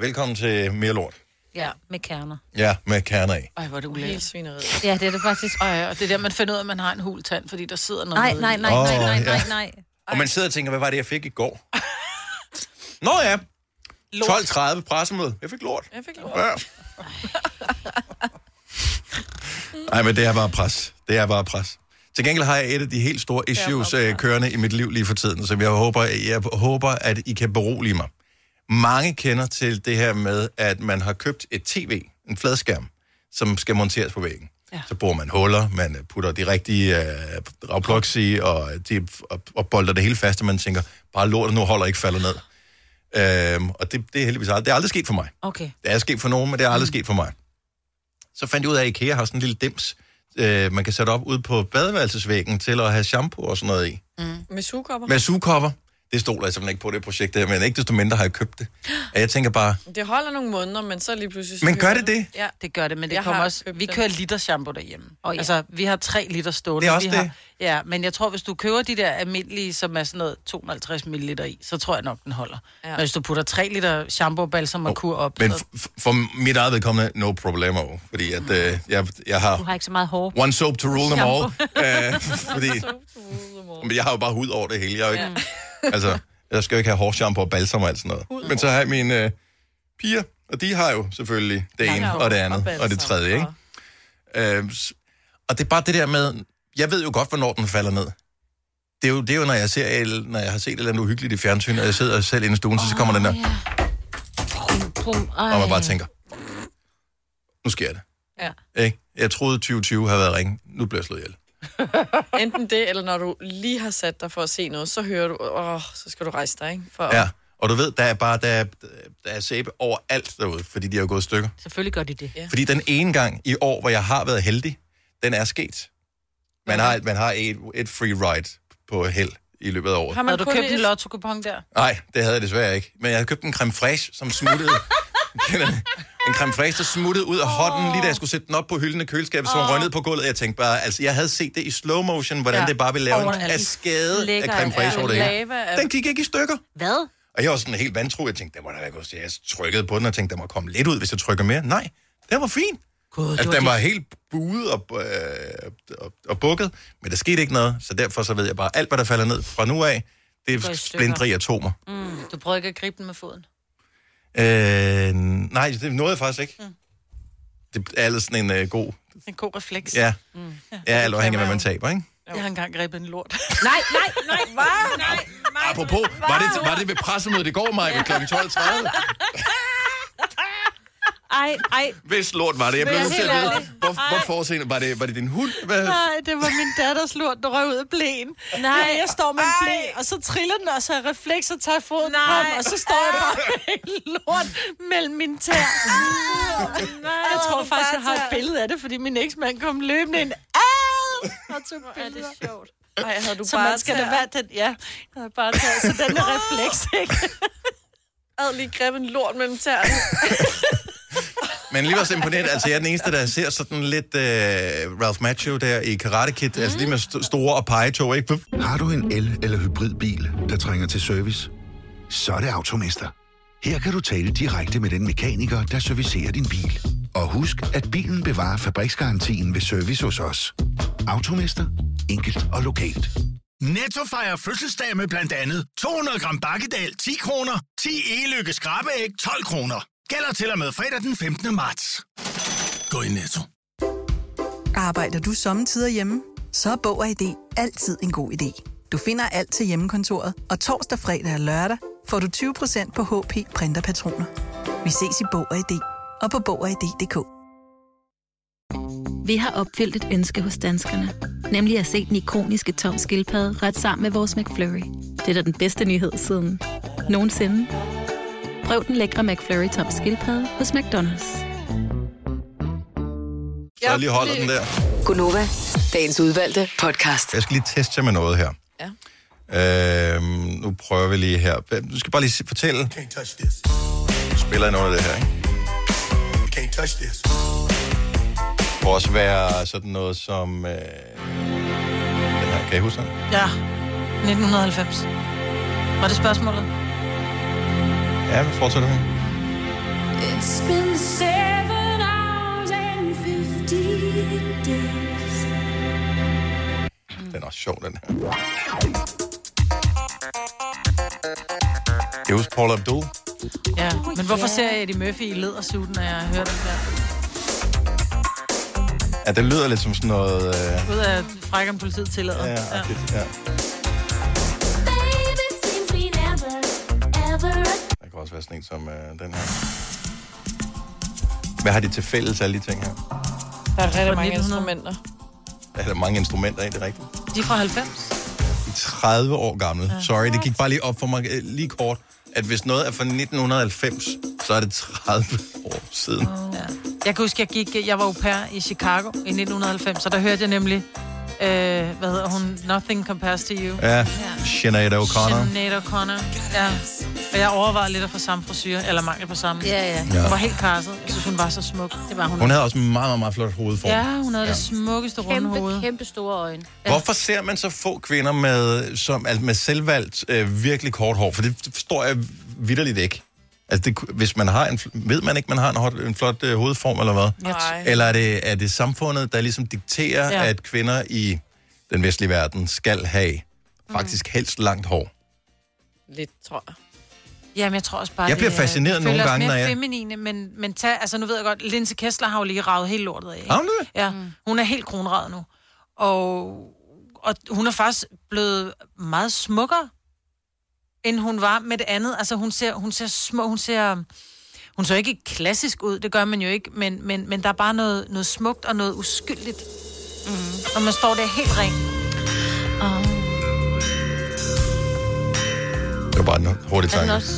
Speaker 1: velkommen til mere lort.
Speaker 4: Ja, med kerner.
Speaker 1: Ja, med kerner i.
Speaker 2: Ej, hvor er det ulækkert.
Speaker 3: Helt svineriet.
Speaker 4: Ja, det er det faktisk.
Speaker 2: Ej, og det er der, man finder ud af, at man har en hul tand, fordi der sidder noget.
Speaker 4: Nej,
Speaker 2: nede i.
Speaker 4: nej, nej,
Speaker 1: Åh,
Speaker 4: nej, nej,
Speaker 1: ja.
Speaker 4: nej, nej.
Speaker 1: Og man sidder og tænker, hvad var det, jeg fik i går? [LAUGHS] Nå ja, 12.30 pressemøde. [LAUGHS] Jeg fik lort.
Speaker 3: Jeg fik
Speaker 1: Ja. Nej, men det er bare pres. Det er bare pres. Til gengæld har jeg et af de helt store issues øh, kørende i mit liv lige for tiden, som jeg håber, jeg håber, at I kan berolige mig. Mange kender til det her med, at man har købt et tv, en fladskærm, som skal monteres på væggen. Ja. Så bruger man huller, man øh, putter de rigtige øh, ragplugs i, og, de, og, og bolder det hele fast, og man tænker, bare lortet nu holder ikke falder ned. Øhm, og det, det er heldigvis aldrig, det er aldrig sket for mig.
Speaker 2: Okay.
Speaker 1: Det er sket for nogen, men det er aldrig sket for mig. Så fandt jeg ud af, at IKEA har sådan en lille dims, øh, man kan sætte op ude på badeværelsesvæggen til at have shampoo og sådan noget i.
Speaker 2: Mm.
Speaker 3: Med sugekopper.
Speaker 1: Med sugekopper. Det stoler jeg simpelthen ikke på, det projekt der, men ikke desto mindre har jeg købt det. Og jeg tænker bare,
Speaker 3: Det holder nogle måneder, men så lige pludselig... så
Speaker 1: Men gør
Speaker 3: hører
Speaker 1: det
Speaker 3: du-
Speaker 1: det?
Speaker 3: Ja.
Speaker 2: Det gør det, men det
Speaker 3: Jeg
Speaker 2: kommer
Speaker 3: har
Speaker 2: også...
Speaker 3: købt
Speaker 2: Vi
Speaker 3: dem.
Speaker 2: kører liter shampoo derhjemme. Oh, ja. Altså, vi har tre liter stående.
Speaker 1: Det er også
Speaker 2: vi
Speaker 1: det.
Speaker 2: Har, ja, men jeg tror, hvis du køber de der almindelige, som er sådan noget 250 ml i, så tror jeg nok, den holder. Ja. Men hvis du putter tre liter shampoo, balsam og kur op...
Speaker 1: men
Speaker 2: så...
Speaker 1: f- f- for mit eget vedkommende, no problemo. Fordi at, øh, jeg, jeg
Speaker 4: Du
Speaker 1: har
Speaker 4: har ikke så meget hår.
Speaker 1: one soap to rule them all.
Speaker 4: Shampoo.
Speaker 1: [LAUGHS] Øh, fordi, men jeg har jo bare hud over det hele. Jeg, er jo ikke, altså, jeg skal jo ikke have hårshampoo og balsam og alt sådan noget. Men så har jeg mine øh, piger, og de har jo selvfølgelig det
Speaker 14: Langt
Speaker 1: ene
Speaker 14: hår
Speaker 1: og det
Speaker 14: og
Speaker 1: andet, og, det
Speaker 14: balsam
Speaker 1: tredje, ikke? Øh, s- og det er bare det der med, jeg ved jo godt, hvornår den falder ned. Det er jo, det er jo når, jeg ser, el- når jeg har set et eller andet uhyggeligt i fjernsynet, og jeg sidder selv inde i stuen, så, så kommer den der,
Speaker 4: Brum, ej.
Speaker 1: og man bare tænker, nu sker det.
Speaker 3: Ja.
Speaker 1: Ikke? Jeg troede 2020 havde været ringe, nu bliver jeg slået ihjel.
Speaker 3: Enten det, eller når du lige har sat dig for at se noget, så hører du, åh, så skal du rejse dig, ikke? For
Speaker 1: Ja, Og du ved, der er bare der er, der er sæbe overalt derude, fordi de har gået i stykker.
Speaker 4: Selvfølgelig gør de det. Ja.
Speaker 1: Fordi den ene gang i år, hvor jeg har været heldig, den er sket. Man har, man har et, et free ride på held i løbet af året.
Speaker 2: Har man du købt en lotto-kupon der?
Speaker 1: Nej, det havde jeg desværre ikke. Men jeg havde købt en creme fraiche, som
Speaker 2: [LAUGHS]
Speaker 1: smuttede. Kender du? en creme fraiche, der smuttede ud af hånden, lige da jeg skulle sætte den op på hylden i køleskabet, så oh. røg ned på gulvet. Jeg tænkte bare, altså jeg havde set det i slow motion, hvordan ja. det bare ville lave en
Speaker 2: Overalt.
Speaker 1: kaskade af
Speaker 2: Lækker
Speaker 1: creme fraiche
Speaker 2: af
Speaker 1: over det hele.
Speaker 2: lava af-
Speaker 1: Den gik ikke i stykker.
Speaker 4: Hvad?
Speaker 1: Og jeg var sådan helt vantro. Jeg tænkte, det må da være gået. til. Jeg trykkede på den og tænkte, der må komme lidt ud, hvis jeg trykker mere. Nej, den var fin.
Speaker 2: God,
Speaker 1: altså, den var helt buet og, øh, og, og bukket, men der skete ikke noget, så derfor så ved jeg bare, alt hvad der falder ned fra nu af, det
Speaker 2: Går
Speaker 1: er
Speaker 2: i stykker.
Speaker 1: splindre i atomer.
Speaker 2: Mm, du prøvede ikke at gribe den med foden.
Speaker 1: Øh, nej, det nåede jeg faktisk ikke. Mm. Det er altid sådan en øh, god...
Speaker 2: En god refleks.
Speaker 1: Ja,
Speaker 2: Mm.
Speaker 1: ja alt afhængig af, hvad man taber, ikke?
Speaker 2: Jeg har engang grebet en lort.
Speaker 4: nej, nej, nej, nej, nej.
Speaker 1: Apropos, var det, var det ved pressemødet i går, Maja, ved kl. 12.30?
Speaker 4: Ej, ej.
Speaker 1: Hvis lort var det, jeg blev
Speaker 2: Men
Speaker 1: nødt til
Speaker 2: helt
Speaker 1: at vide.
Speaker 2: ærligt.
Speaker 1: Hvor, hvorfor sen? Var det, var det din hund? Hvad?
Speaker 2: Nej, det var min datters lort, der røg ud af blæen.
Speaker 4: Nej.
Speaker 2: Jeg står med en blæ, og så triller den, og så har refleks og tager foden Nej. frem, og så står jeg bare med en lort mellem mine tæer. Nej, jeg tror faktisk, jeg har et billede af det, fordi min eksmand kom løbende ind. Au! Og tog billeder. Er det sjovt?
Speaker 3: Ej, havde du
Speaker 2: så
Speaker 3: bare
Speaker 2: man skal da
Speaker 3: tæer?
Speaker 2: være den, ja. Jeg havde bare tæer, så den er refleks,
Speaker 3: [LAUGHS]
Speaker 2: ikke?
Speaker 3: Jeg havde lige grebet en lort mellem tæerne.
Speaker 1: Men lige var så imponeret. Altså, jeg er den eneste, der ser sådan lidt øh, Ralph Macchio der i Karate Kid. Mm. Altså, lige med st- store og pegetog, ikke?
Speaker 6: Har du en el- eller hybridbil, der trænger til service? Så er det Automester. Her kan du tale direkte med den mekaniker, der servicerer din bil. Og husk, at bilen bevarer fabriksgarantien ved service hos os. Automester. Enkelt og lokalt.
Speaker 7: Netto fejrer fødselsdag med blandt andet 200 gram bakkedal 10 kroner, 10 e-lykke skrabeæg 12 kroner. Gælder til og med fredag den 15. marts. Gå i Netto.
Speaker 14: [LAUGHS] Arbejder du sommetider hjemme? Så er Bog og ID altid en god idé. Du finder alt til hjemmekontoret, og torsdag, fredag og lørdag får du 20% på HP Printerpatroner. Vi ses i Bog og ID og på Bog og ID.dk.
Speaker 15: Vi har opfyldt et ønske hos danskerne. Nemlig at se den ikoniske tom skildpadde ret sammen med vores McFlurry. Det er da den bedste nyhed siden nogensinde. Prøv den lækre McFlurry tom skildpadde hos McDonald's.
Speaker 1: Så lige holder den der.
Speaker 5: Gunova, dagens udvalgte podcast.
Speaker 1: Jeg skal lige teste jer med noget her. Ja. Øhm, nu prøver vi lige her. Hvad- Du skal bare lige se- fortælle.
Speaker 7: Can't touch this.
Speaker 1: Spiller I noget af det her, ikke?
Speaker 7: Can't touch this.
Speaker 1: Det kunne også være sådan noget som... Øh, den her, kan I huske den?
Speaker 2: Ja, 1990. Var det spørgsmålet?
Speaker 1: Ja, vi fortsætter med.
Speaker 16: It's been seven hours and 15 days.
Speaker 1: Den er også sjov, den her. Jeg husker Paul Abdul.
Speaker 2: Ja, men hvorfor ser jeg Eddie Murphy i lædersuten, når jeg hører den der?
Speaker 1: Ja, det lyder lidt som sådan noget... Øh,
Speaker 2: Ud af frække om politiet tillader.
Speaker 1: ja,
Speaker 2: Ja.
Speaker 1: agtigt, ja.
Speaker 16: Baby, seems we never, ever
Speaker 1: Der kan også være sådan en som øh, den her. Hvad har de til fælles, alle de ting her?
Speaker 3: Der er rigtig mange
Speaker 2: 1900.
Speaker 3: instrumenter.
Speaker 1: Er der mange instrumenter i det rigtigt?
Speaker 2: De er fra 90.
Speaker 1: De er 30 år gamle.
Speaker 2: Ja.
Speaker 1: Sorry, det gik bare lige op for mig øh, lige kort, at hvis noget er fra 1990, så er det 30 år siden.
Speaker 2: Ja. Jeg kan huske, jeg, gik, jeg var au pair i Chicago i 1990, så der hørte jeg nemlig, øh, hvad hedder hun, Nothing Compares to You.
Speaker 1: Ja, Sinead O'Connor.
Speaker 2: Sinead O'Connor, ja. Og jeg overvejede lidt at få samme frisyr, eller mangel på samme.
Speaker 4: Ja, ja.
Speaker 1: Ja.
Speaker 2: Hun var helt karset. Jeg synes, hun var så smuk. Det var
Speaker 1: Hun havde også en meget, meget, meget flot hovedform.
Speaker 2: Ja, hun havde ja. det smukkeste runde
Speaker 4: Kæmpe,
Speaker 2: hoved.
Speaker 4: kæmpe store øjne.
Speaker 1: Hvorfor ser man så få kvinder med, som, altså med selvvalgt øh, virkelig kort hår? For det forstår jeg vidderligt ikke. Altså, det, ku- hvis man har en, fl- ved man ikke, man har en, hot, en flot øh, hovedform, eller hvad?
Speaker 2: Nej.
Speaker 1: Eller er det, er det samfundet, der ligesom dikterer, ja.
Speaker 2: Ja.
Speaker 1: at kvinder i den vestlige verden skal have faktisk helst langt hår?
Speaker 3: Lidt, tror jeg.
Speaker 2: Jamen, jeg tror også bare,
Speaker 1: Jeg bliver
Speaker 2: det,
Speaker 1: fascineret
Speaker 2: det
Speaker 1: nogle
Speaker 2: føler os
Speaker 1: gange,
Speaker 2: mere
Speaker 1: når jeg-
Speaker 2: feminine, men, men tag, altså nu ved jeg godt, Linse Kessler har jo lige ravet helt lortet af. ikke?
Speaker 1: Har hun det?
Speaker 2: Ja, hun er helt kronravet nu. Og, og hun er faktisk blevet meget smukkere, end hun var med det andet. Altså, hun ser, hun ser små, hun ser... Hun ser ikke klassisk ud, det gør man jo ikke, men, men, men der er bare noget, noget smukt og noget uskyldigt. Mm. Og man står der helt ren.
Speaker 1: Det var bare en hurtig
Speaker 4: Er den
Speaker 1: tanke.
Speaker 4: også?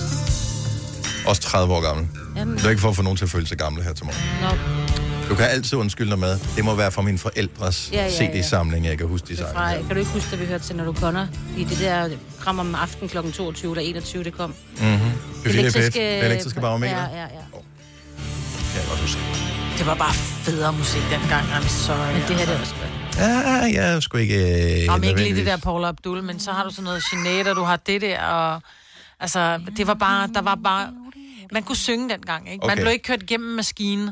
Speaker 1: Også 30 år gammel.
Speaker 4: Jamen.
Speaker 1: Det er ikke for at få nogen til at føle sig gamle her til morgen.
Speaker 4: Nå,
Speaker 1: Du kan altid undskylde dig med, det må være fra mine forældres
Speaker 4: Ja,
Speaker 1: ja,
Speaker 4: ja,
Speaker 1: ja,
Speaker 4: ja.
Speaker 1: CD-samling, jeg kan huske de sange.
Speaker 4: fra, kan du ikke huske, at vi hørte til, når du Connor i det der kram om aften kl. 22, da 21 det kom?
Speaker 1: Mm-hmm. Det elektriske, det elektriske barometer.
Speaker 4: Ja, ja, ja.
Speaker 1: Kan jeg godt huske.
Speaker 2: Det var bare federe musik dengang, I'm sorry. altså. Men det her, det er også
Speaker 1: Ja, jeg er sgu ikke... Øh,
Speaker 2: Om ikke lige det
Speaker 1: nødvendigvis-
Speaker 2: der Paula Abdul, men så har du sådan noget Sinead, og du har det der, og... Altså, det var bare... Der var bare... Man kunne synge dengang, ikke? Man
Speaker 1: Okay.
Speaker 2: blev ikke kørt gennem maskinen.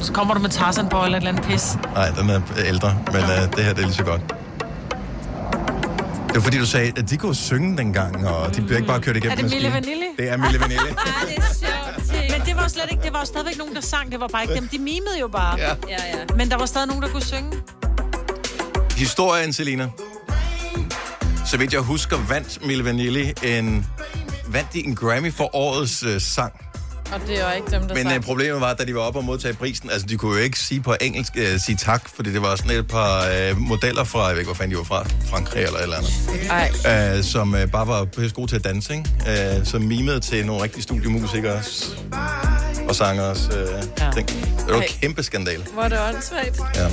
Speaker 2: Så kommer du med Tarzan på eller et eller andet pis.
Speaker 1: Nej, den er ældre, men øh, det her det er lige så godt. Det var fordi, du sagde, at de kunne synge dengang, og de blev ikke bare kørt igennem
Speaker 2: Mm. Er det Mille
Speaker 1: maskinen.
Speaker 2: Vanilli?
Speaker 1: Det er
Speaker 2: [LAUGHS]
Speaker 1: Mille Vanille.
Speaker 2: Ja, det er sjovt. Men det var jo slet ikke... Det var jo stadigvæk nogen, der sang. Det var bare ikke dem. De mimede jo bare.
Speaker 1: Ja.
Speaker 4: Ja, ja.
Speaker 2: Men der var stadig nogen, der kunne synge.
Speaker 1: Historien, Selina. Så vidt jeg husker, vandt Mille Vanilli en... Vandt de en Grammy for årets øh, sang.
Speaker 3: Og det var ikke dem, der
Speaker 1: Men
Speaker 3: sang.
Speaker 1: øh, problemet var, da de var oppe og modtage prisen, altså de kunne jo ikke sige på engelsk, øh, sige tak, fordi det var sådan et par øh, modeller fra, jeg ved ikke, hvor fanden de var fra, Frankrig eller et eller
Speaker 3: Ej.
Speaker 1: andet, øh, som øh, bare var pisse gode til at danse, ikke? Øh, som mimede til nogle rigtige studiemusikere s- og sangers øh, ja. ting. Det var en
Speaker 2: Ej.
Speaker 1: kæmpe skandal.
Speaker 2: Hvor er det åndssvagt.
Speaker 1: Ja.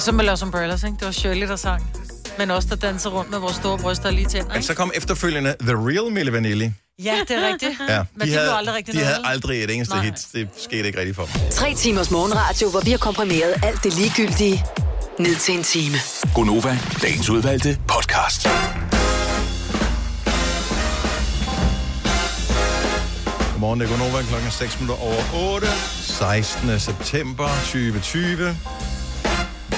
Speaker 2: Som med Los Umbrellas, ikke? Det var Shirley, der sang. Men også der dansede rundt med vores store bryster og lige tænder,
Speaker 1: Men
Speaker 2: ikke?
Speaker 1: så kom efterfølgende The Real Mille Vanilli.
Speaker 2: Ja, det er rigtigt.
Speaker 1: Ja,
Speaker 2: Men det blev aldrig rigtig
Speaker 1: de
Speaker 2: noget.
Speaker 1: havde aldrig et eneste Nej. hit. Det skete ikke rigtigt for dem.
Speaker 5: Tre timers morgenradio, hvor vi har komprimeret alt det ligegyldige ned til en time.
Speaker 17: Gonova, dagens udvalgte podcast.
Speaker 1: Godmorgen, det er Gunova, klokken er 6 minutter over 8. 16. september 2020.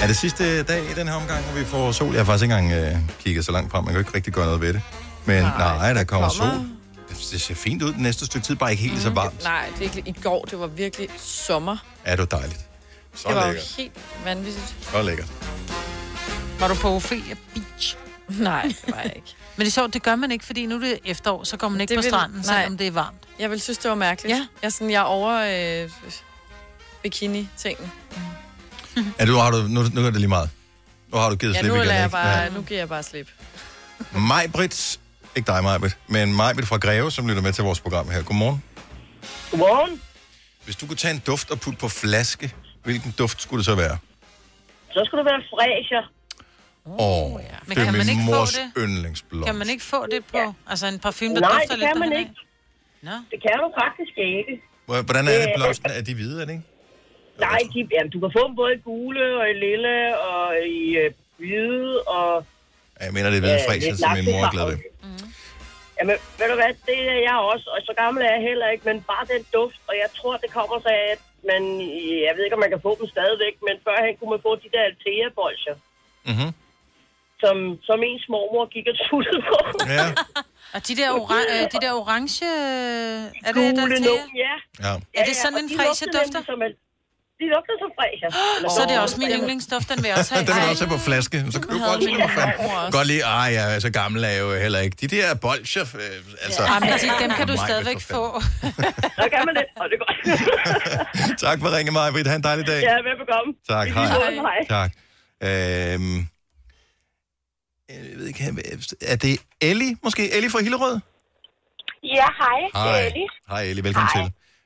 Speaker 1: Er det sidste dag i den her omgang, hvor vi får sol? Jeg har faktisk ikke engang øh, kigget så langt frem. Man kan jo ikke rigtig gøre noget ved det. Men nej, nej der kommer,
Speaker 3: kommer. Mm.
Speaker 1: sol. Det, det ser fint ud den næste stykke tid, bare ikke helt lige så varmt.
Speaker 3: Nej, det er ikke, i går, det var virkelig sommer.
Speaker 1: Er du dejligt. Så
Speaker 3: det var
Speaker 1: lækkert.
Speaker 3: jo helt vanvittigt.
Speaker 1: Så lækkert.
Speaker 2: Var du på Ophelia Beach?
Speaker 3: [LAUGHS] Nej, det var jeg ikke.
Speaker 2: Men det er sjovt, det gør man ikke, fordi nu er det efterår, så går man ikke
Speaker 3: Det
Speaker 2: på
Speaker 3: vil-
Speaker 2: stranden,
Speaker 3: nej.
Speaker 2: selvom det er varmt.
Speaker 3: Jeg vil synes, det var mærkeligt. Ja. Jeg er, sådan, jeg er over øh, bikini-tingen.
Speaker 1: Er du, har du, nu, nu er det lige meget. Nu har du givet
Speaker 3: Ja,
Speaker 1: slip
Speaker 3: nu,
Speaker 1: igen,
Speaker 3: lader jeg
Speaker 1: ikke?
Speaker 3: bare, nu giver jeg bare slip.
Speaker 1: Majbrit, ikke dig Majbrit, men Majbrit fra Greve, som lytter med til vores program her. Godmorgen.
Speaker 18: Godmorgen.
Speaker 1: Hvis du kunne tage en duft og putte på flaske, hvilken duft skulle det så være?
Speaker 18: Så skulle det være fræser.
Speaker 1: Åh, oh, oh, ja.
Speaker 2: Men
Speaker 1: det er
Speaker 2: kan man
Speaker 1: min
Speaker 2: ikke få
Speaker 1: mors
Speaker 2: det?
Speaker 1: yndlingsblomst.
Speaker 2: Kan man ikke få det på, altså en parfume, der
Speaker 18: Nej,
Speaker 2: dufter
Speaker 18: det
Speaker 2: lidt
Speaker 18: kan man
Speaker 2: derhenad?
Speaker 18: ikke. Det kan du faktisk ikke.
Speaker 1: Hvor- Hvordan er det,
Speaker 18: Øh,
Speaker 1: blomsten? Er de hvide, er det ikke?
Speaker 18: Nej, de, jamen, du kan få dem både i gule og i lille og i øh, hvide og...
Speaker 1: Ja, Jeg mener, det er hvide
Speaker 18: øh,
Speaker 1: fræser,
Speaker 18: lidt
Speaker 1: som min mor er glad
Speaker 18: laksefarvet. Mm-hmm.
Speaker 1: ved.
Speaker 18: Jamen, ved du hvad, det er jeg også, og så gammel er jeg heller ikke, men bare den duft, og jeg tror, det kommer sig af, at man, jeg ved ikke, om man kan få dem stadigvæk, men førhen kunne man få de der Altea-bolcher,
Speaker 1: Mm-hmm.
Speaker 18: som, som ens mormor gik og tuttede på.
Speaker 1: Ja.
Speaker 2: Og de der, oran, øh, de der orange... øh, Er det, der
Speaker 18: Gule
Speaker 2: til?
Speaker 18: nogen, ja.
Speaker 1: ja.
Speaker 2: Er det sådan en fræse dufter?
Speaker 18: De lugter som
Speaker 2: [GASPS]
Speaker 18: fræser.
Speaker 2: Så er det også min yndlingsduft, den vil jeg også have.
Speaker 1: [LAUGHS] Den er også på flaske, så køb
Speaker 2: havde
Speaker 1: bolcher,
Speaker 2: min
Speaker 1: for fanden.
Speaker 2: mormor også.
Speaker 1: Godt lige, ej, jeg er så gammel er jeg jo heller ikke. De der bolcher, øh, altså...
Speaker 2: Ja, men de- dem kan du
Speaker 1: Majbrit,
Speaker 2: stadigvæk
Speaker 1: for fanden.
Speaker 2: få. [LAUGHS]
Speaker 18: Så kan man det, og det går.
Speaker 1: Tak for at ringe, Majbrit. Ha' en dejlig dag.
Speaker 18: Ja, velbekomme.
Speaker 1: Tak,
Speaker 18: I
Speaker 1: hej.
Speaker 18: lige måde, hej.
Speaker 1: Tak. Øhm, jeg ved ikke, er det Ellie måske? Ellie fra Hillerød?
Speaker 19: Ja, hej. Det er Ellie.
Speaker 1: Hej Ellie, velkommen hej. til.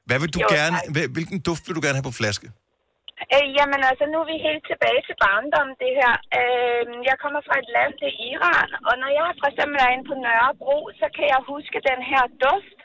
Speaker 1: Hvad vil du
Speaker 19: Jo,
Speaker 1: jo, gerne, hvil- hvilken duft vil du gerne have på flaske?
Speaker 19: Øh, jamen altså, nu er vi helt tilbage til barndommen, det her. Øh, jeg kommer fra et land, det er Iran, og når jeg for eksempel er inde på Nørrebro, så kan jeg huske den her duft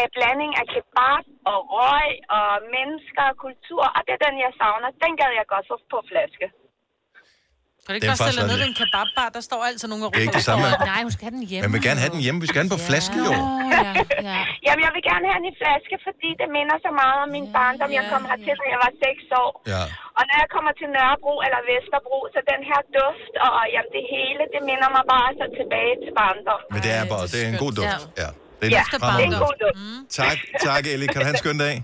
Speaker 19: af blanding af kebab og røg og mennesker og kultur, og det er den, jeg savner. Den gad jeg godt få på flaske.
Speaker 2: Kan du
Speaker 1: Den
Speaker 2: ikke
Speaker 1: er
Speaker 2: bare
Speaker 1: faktisk
Speaker 2: stille dig ned ved en
Speaker 1: lidt-
Speaker 2: kebabbar? Der står altid nogen og
Speaker 1: Det er ikke det samme.
Speaker 2: Nej, hun skal have den hjemme.
Speaker 1: Man vil gerne have den hjemme, vi skal have den på flaske jo.
Speaker 19: ja, ja. Jamen, jeg vil gerne have den i flaske, fordi det minder så meget om min barndom. Jeg kom hertil, da jeg var 6 år.
Speaker 1: Ja.
Speaker 19: Og når jeg kommer til Nørrebro eller Vesterbro, så den her duft og jamen, det hele, det minder mig bare så tilbage til barndom.
Speaker 1: Men det er bare, det er en god duft. Ja, det
Speaker 19: ja,
Speaker 1: en
Speaker 19: det er
Speaker 1: fremragende
Speaker 19: en god
Speaker 1: duft.
Speaker 19: duft.
Speaker 1: Tak, tak Ellie. Kan du have en skøn dag?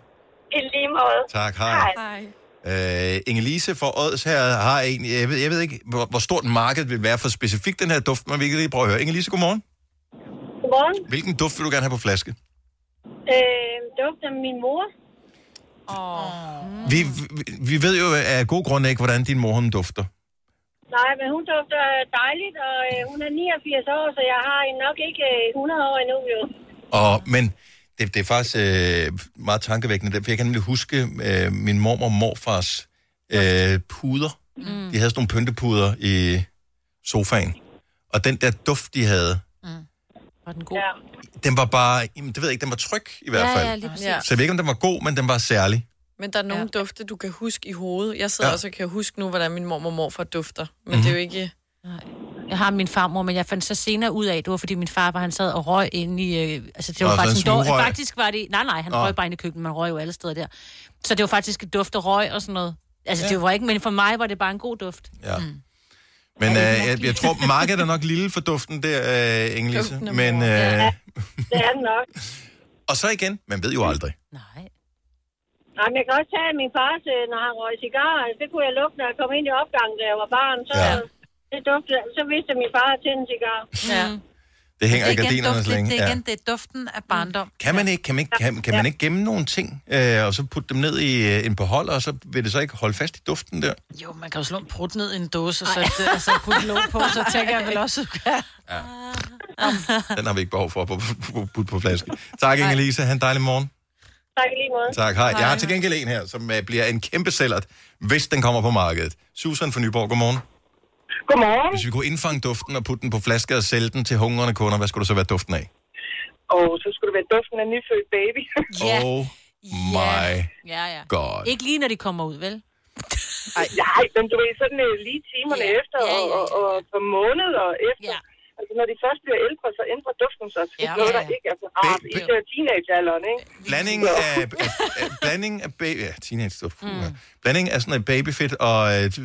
Speaker 19: I lige måde.
Speaker 1: Tak, hej. Øh, Inge-Lise fra Ods her har en, jeg ved, jeg ved ikke, hvor, hvor stort markedet vil være for specifikt den her duft, men vi kan lige prøve at høre. Inge-Lise, godmorgen.
Speaker 20: Godmorgen.
Speaker 1: Hvilken duft vil du gerne have på flaske?
Speaker 20: Øh, duft af min mor. Oh.
Speaker 1: Vi, vi, vi ved jo af god grund ikke, hvordan din mor hun dufter.
Speaker 20: Nej, men hun dufter dejligt, og øh, hun er 89 år, så jeg har hende nok ikke øh, 100 år endnu. Jo.
Speaker 1: Og, men det, det er faktisk øh, meget tankevækkende, for jeg kan nemlig huske øh, min mormor og morfars øh, puder. Mm. De havde sådan nogle pyntepuder i sofaen. Og den der duft, de havde,
Speaker 4: Var den god? Ja.
Speaker 1: den var bare, jamen, det ved jeg ikke, den var tryg i hvert
Speaker 3: Ja,
Speaker 1: fald.
Speaker 3: ja, lige præcis. Ja.
Speaker 1: Så jeg ved ikke, om den var god, men den var særlig.
Speaker 3: Men der er nogle ja. dufte, du kan huske i hovedet. Jeg sidder ja. også og kan huske nu, hvordan min mormor og morfar dufter. Men
Speaker 1: Mhm.
Speaker 3: mm-hmm. det er jo ikke...
Speaker 4: Jeg har min farmor, men jeg fandt så senere ud af, det var fordi min far bare, han sad og røg inde i... Øh, altså det var
Speaker 16: Nå, så
Speaker 4: faktisk
Speaker 16: han
Speaker 4: en dår,
Speaker 16: smugrøg?
Speaker 4: Faktisk var det... Nej, nej, han
Speaker 16: Nå.
Speaker 4: røg bare inde i køkkenet, man røg jo alle steder der. Så det var faktisk et duft og røg og sådan noget. Altså ja. det var ikke, men for mig var det bare en god duft.
Speaker 1: Ja. Mm. Men øh, jeg, jeg tror, markedet er nok lille for duften der, øh, Ingelise.
Speaker 4: Duften af
Speaker 1: Men,
Speaker 4: mor.
Speaker 1: øh,
Speaker 4: Ja.
Speaker 20: Det er den nok.
Speaker 1: og så igen, man ved jo aldrig.
Speaker 20: Nej, men jeg kan også tage min fars, øh, når han røg cigarer. Det kunne jeg lugte, når jeg kom ind i opgangen, da jeg var barn. Så, ja. det duftede, så vidste jeg, at min far havde tændt en cigar.
Speaker 2: Ja.
Speaker 1: Det hænger i
Speaker 2: igen
Speaker 1: gardinerne så
Speaker 2: duften-
Speaker 1: længe.
Speaker 2: Det er
Speaker 1: Ja.
Speaker 2: igen, det er duften af barndom.
Speaker 1: Kan man ikke, kan man ikke, kan, kan man ikke gemme nogle ting, øh, og så putte dem ned i øh, en beholder, og så vil det så ikke holde fast i duften der?
Speaker 2: Jo, man kan jo slå en prut ned i en dåse, og så det, altså, putte låg på, så tænker jeg vel også, at du kan.
Speaker 1: Den har vi ikke behov for at putte på, på, på flasken. Tak, Inge-Lise. Ha' en dejlig morgen.
Speaker 20: Tak i lige måde.
Speaker 1: Tak, hej. Jeg har til gengæld en her, som øh, bliver en kæmpe sælgert, hvis den kommer på markedet. Susan fra Nyborg, godmorgen.
Speaker 8: Godmorgen.
Speaker 1: Hvis vi kunne indfange duften og putte den på flaske og sælge den til hungrende kunder, hvad skulle det så være duften af?
Speaker 8: Og så skulle det være duften af nyfødt
Speaker 3: [LAUGHS]
Speaker 8: baby.
Speaker 1: Ja. Oh my
Speaker 8: Ja, ja.
Speaker 1: god.
Speaker 8: Ikke lige når de kommer ud, vel? Ej, nej, men du ved, sådan øh, lige timerne yeah. efter, og, og, og på måneder efter. Yeah. Altså, når de først bliver ældre, så ændrer duften sig til yeah. noget, der ikke er så rart. Især teenagealderen, ikke?
Speaker 1: Blanding af, af, af, blanding af baby... Ja, teenage duft. Mm. Blanding af sådan noget babyfedt og øh,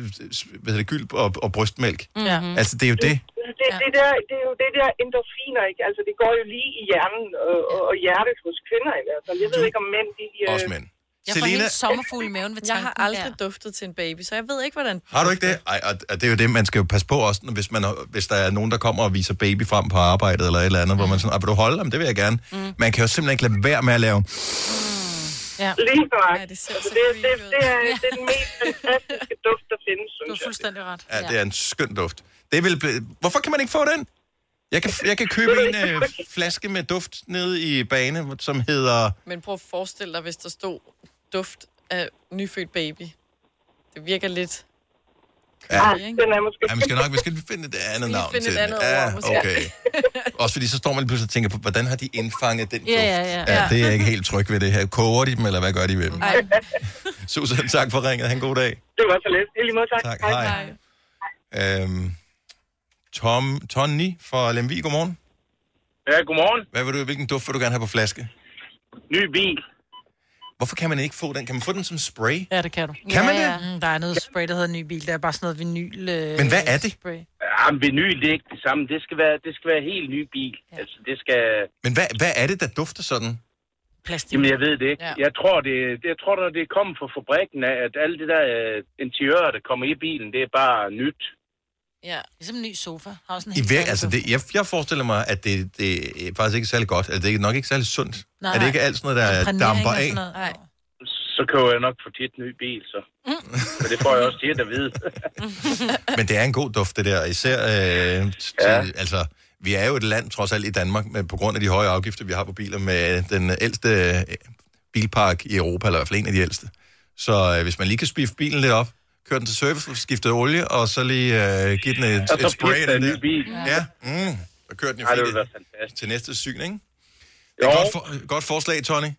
Speaker 1: hvad hedder det, gylp og, og brystmælk.
Speaker 8: Mhm.
Speaker 1: Altså, det er jo det.
Speaker 8: Det, det, der, det er jo det der endorfiner, ikke? Altså, det går jo lige i hjernen og, og- og hjertet hos kvinder i hvert fald. Jeg ved ikke, om mænd, de... Øh...
Speaker 1: Også
Speaker 8: [LAUGHS]
Speaker 1: mænd.
Speaker 8: Jeg
Speaker 1: får Selena- helt
Speaker 3: sommerfugl i maven ved [LAUGHS] Jeg har aldrig ja. duftet til en baby, så jeg ved ikke, hvordan...
Speaker 1: Har du ikke det? Ej, og, og det er jo det, man skal jo passe på også, hvis, man, hvis der er nogen, der kommer og viser baby frem på arbejdet eller et eller andet, hvor man sådan, "Ej, vil du holde dem? Det vil jeg gerne. Mm. Man kan jo simpelthen ikke lade være med at lave...
Speaker 2: Ja.
Speaker 8: Lige nok. Ja, det, altså, det, det, det, det, er, det er den mest fantastiske duft, der findes, synes
Speaker 2: Du er fuldstændig ret.
Speaker 1: Ja, det er en skøn duft. Det vil blive... Hvorfor kan man ikke få den? Jeg kan, jeg kan købe en øh, flaske med duft nede i bane, som hedder...
Speaker 3: Men prøv at forestille dig, hvis der stod duft af nyfødt baby. Det virker lidt...
Speaker 1: Ja,
Speaker 3: Ej, den er måske...
Speaker 1: ja vi skal nok vi skal finde et andet
Speaker 3: lige
Speaker 1: navn
Speaker 3: finde
Speaker 1: til
Speaker 3: et
Speaker 1: den.
Speaker 3: andet ord,
Speaker 1: Ja,
Speaker 3: måske.
Speaker 1: okay.
Speaker 11: [LAUGHS]
Speaker 1: Også fordi så står man lige pludselig og tænker på, hvordan har de indfanget den duft?
Speaker 16: Ja, ja, ja.
Speaker 1: ja det er jeg ikke helt tryg ved det her. Koger de dem, eller hvad gør de ved
Speaker 3: [LAUGHS]
Speaker 1: dem?
Speaker 8: Ej.
Speaker 1: Susan, tak for ringet. Han god dag.
Speaker 8: Det var så let. I lige måde, tak.
Speaker 1: Tak, hej. Øhm, Tom Tonni fra Lemvig, godmorgen.
Speaker 9: Ja, godmorgen.
Speaker 1: Hvad vil du, hvilken duft vil du gerne have på flaske?
Speaker 9: Ny bil.
Speaker 1: Hvorfor kan man ikke få den? Kan man få den som spray?
Speaker 2: Ja, det kan du.
Speaker 1: Kan man det?
Speaker 2: Mm, der er noget spray, der hedder ny bil. Der er bare sådan noget vinyl. Øh,
Speaker 9: Men hvad er det?
Speaker 2: Spray.
Speaker 9: Jamen, vinyl, det er ikke det samme. Det skal være, det skal være helt ny bil. Ja. Altså, det skal...
Speaker 1: Men hvad, hvad er det, der dufter sådan?
Speaker 2: Plastik.
Speaker 9: Jamen, jeg ved det ikke.
Speaker 2: Ja.
Speaker 9: Ja. Jeg tror, det, det, jeg tror, det er kommet fra fabrikken, af, at alle de der uh, interiører, der kommer i bilen, det er bare nyt.
Speaker 2: Ja. Ligesom en ny sofa. Har også en
Speaker 1: I
Speaker 2: helt
Speaker 1: vir-
Speaker 2: særlig
Speaker 1: altså
Speaker 2: duft.
Speaker 1: det, jeg, jeg forestiller mig, at det, det er faktisk ikke særlig godt. Altså, det er nok ikke særlig sundt.
Speaker 2: Nej,
Speaker 1: er det
Speaker 2: nej.
Speaker 1: ikke alt sådan noget, der
Speaker 2: Imprægnering
Speaker 1: damper
Speaker 2: og
Speaker 1: af?
Speaker 2: sådan noget. Nej.
Speaker 9: Så køber jeg nok for tit en ny bil, så. Men det får jeg også tit at vide. [LAUGHS]
Speaker 1: Men det er en god duft, det der. Især øh, til, altså, vi er jo et land, trods alt i Danmark, med, på grund af de høje afgifter, vi har på biler, med den ældste øh, bilpark i Europa, eller i hvert fald en af de ældste. Så øh, hvis man lige kan spiffe bilen lidt op, køre den til service, få skiftet olie, og så lige øh, give den et,
Speaker 9: Og så
Speaker 1: et spray
Speaker 9: bliver
Speaker 1: af den
Speaker 9: det en
Speaker 1: der.
Speaker 9: ny bil.
Speaker 1: Ja, mm. så kører den jo
Speaker 9: Ej, det
Speaker 1: fint
Speaker 9: ville være
Speaker 1: til næste syn, ikke? Det er et godt, for, godt forslag, Tony.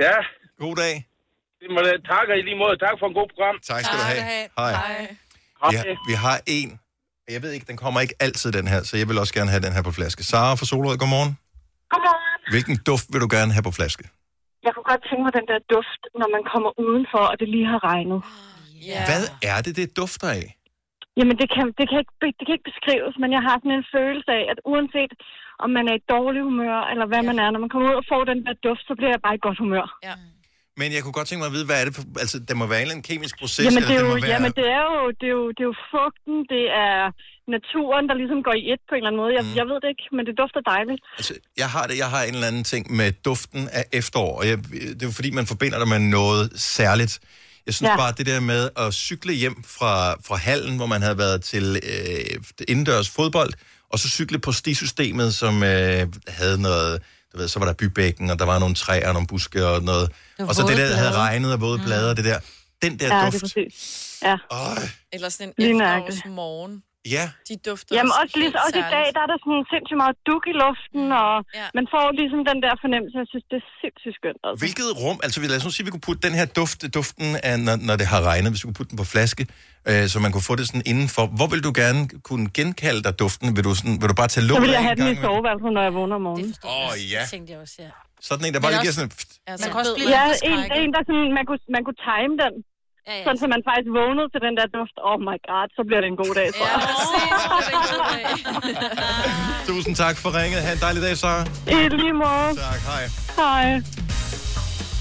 Speaker 9: Ja.
Speaker 1: God dag.
Speaker 9: Tak og i lige måde. Tak for en god program.
Speaker 1: Tak skal du have. Hej. Vi har, vi har en, og jeg ved ikke, den kommer ikke altid, den her, så jeg vil også gerne have den her på flaske. Sara fra Solrød, godmorgen.
Speaker 21: Godmorgen.
Speaker 1: Hvilken duft vil du gerne have på flaske?
Speaker 21: Jeg kunne godt tænke mig den der duft, når man kommer udenfor, og det lige har regnet.
Speaker 1: Ja. Hvad er det, det dufter af?
Speaker 21: Jamen, det kan, det, kan ikke, be- det kan ikke beskrives, men jeg har sådan en følelse af, at uanset om man er i dårlig humør, eller hvad ja. man er, når man kommer ud og får den der duft, så bliver jeg bare i godt humør.
Speaker 3: Ja.
Speaker 1: Men jeg kunne godt tænke mig at vide, hvad er det for... Altså, der må være en eller anden kemisk proces,
Speaker 21: Jamen, det
Speaker 1: eller
Speaker 21: er
Speaker 1: det
Speaker 21: jo,
Speaker 1: må være...
Speaker 21: jamen det, er jo, det, er jo, det er jo fugten, det er naturen, der ligesom går i et på en eller anden måde. Jeg, mm. jeg ved det ikke, men det dufter dejligt.
Speaker 1: Altså, jeg har det, jeg har en eller anden ting med duften af efterår, og jeg, det er jo fordi, man forbinder det med noget særligt. Jeg synes
Speaker 21: Ja.
Speaker 1: ja. bare, det der med at cykle hjem fra, fra hallen, hvor man havde været til øh, indendørs fodbold, og så cykle på stisystemet, som øh, havde noget du ved, så var der bybækken, og der var nogle træer og nogle buske og noget.
Speaker 3: var
Speaker 1: Og så det
Speaker 3: våde
Speaker 1: der, der havde
Speaker 3: blade.
Speaker 1: regnet og våde blader, det der. Den
Speaker 21: Mm.
Speaker 1: der
Speaker 21: ja, det er
Speaker 1: duft.
Speaker 21: præcis. Ja.
Speaker 3: Eller sådan en
Speaker 21: Lige nøjagtigt.
Speaker 3: efterårsmorgen.
Speaker 1: Ja,
Speaker 3: De dufter
Speaker 21: Jamen
Speaker 3: også
Speaker 21: også, lige,
Speaker 3: helt
Speaker 21: også i dag,
Speaker 3: særligt.
Speaker 21: der er der sådan sindssygt meget duk i luften, og ja. man får ligesom den der fornemmelse, jeg synes, det er sindssygt skønt. Altså.
Speaker 1: Hvilket rum, altså lad os nu sige, at vi kunne putte den her duft, duften, af, når, når det har regnet, hvis vi kunne putte den på flaske, øh, så man kunne få det sådan indenfor. Hvor vil du gerne kunne genkalde dig duften? Vil du, sådan, vil du bare tage
Speaker 21: Så
Speaker 1: lågen
Speaker 21: vil
Speaker 1: af
Speaker 21: jeg
Speaker 1: en
Speaker 21: have den i
Speaker 1: gang?
Speaker 21: soveværelset, når jeg vågner om morgenen.
Speaker 1: Åh oh, ja,
Speaker 4: tænkte jeg også, ja.
Speaker 1: sådan en, der
Speaker 21: Men
Speaker 1: bare lige giver
Speaker 21: også-
Speaker 1: sådan en... pft.
Speaker 21: Ja,
Speaker 4: Altså, Man kan også blive
Speaker 21: ja,
Speaker 4: lidt
Speaker 21: en,
Speaker 4: forskrækket.
Speaker 21: en, der sådan, man kunne, man kunne time den.
Speaker 4: Ja, ja.
Speaker 21: Sådan, så man faktisk vågnede til den der duft. Oh my god, så bliver det en god dag, tror jeg.
Speaker 1: Tusind tak for ringet. Ha' en dejlig dag, Sara.
Speaker 21: I lige måde.
Speaker 1: Tak, hej.
Speaker 21: Hej.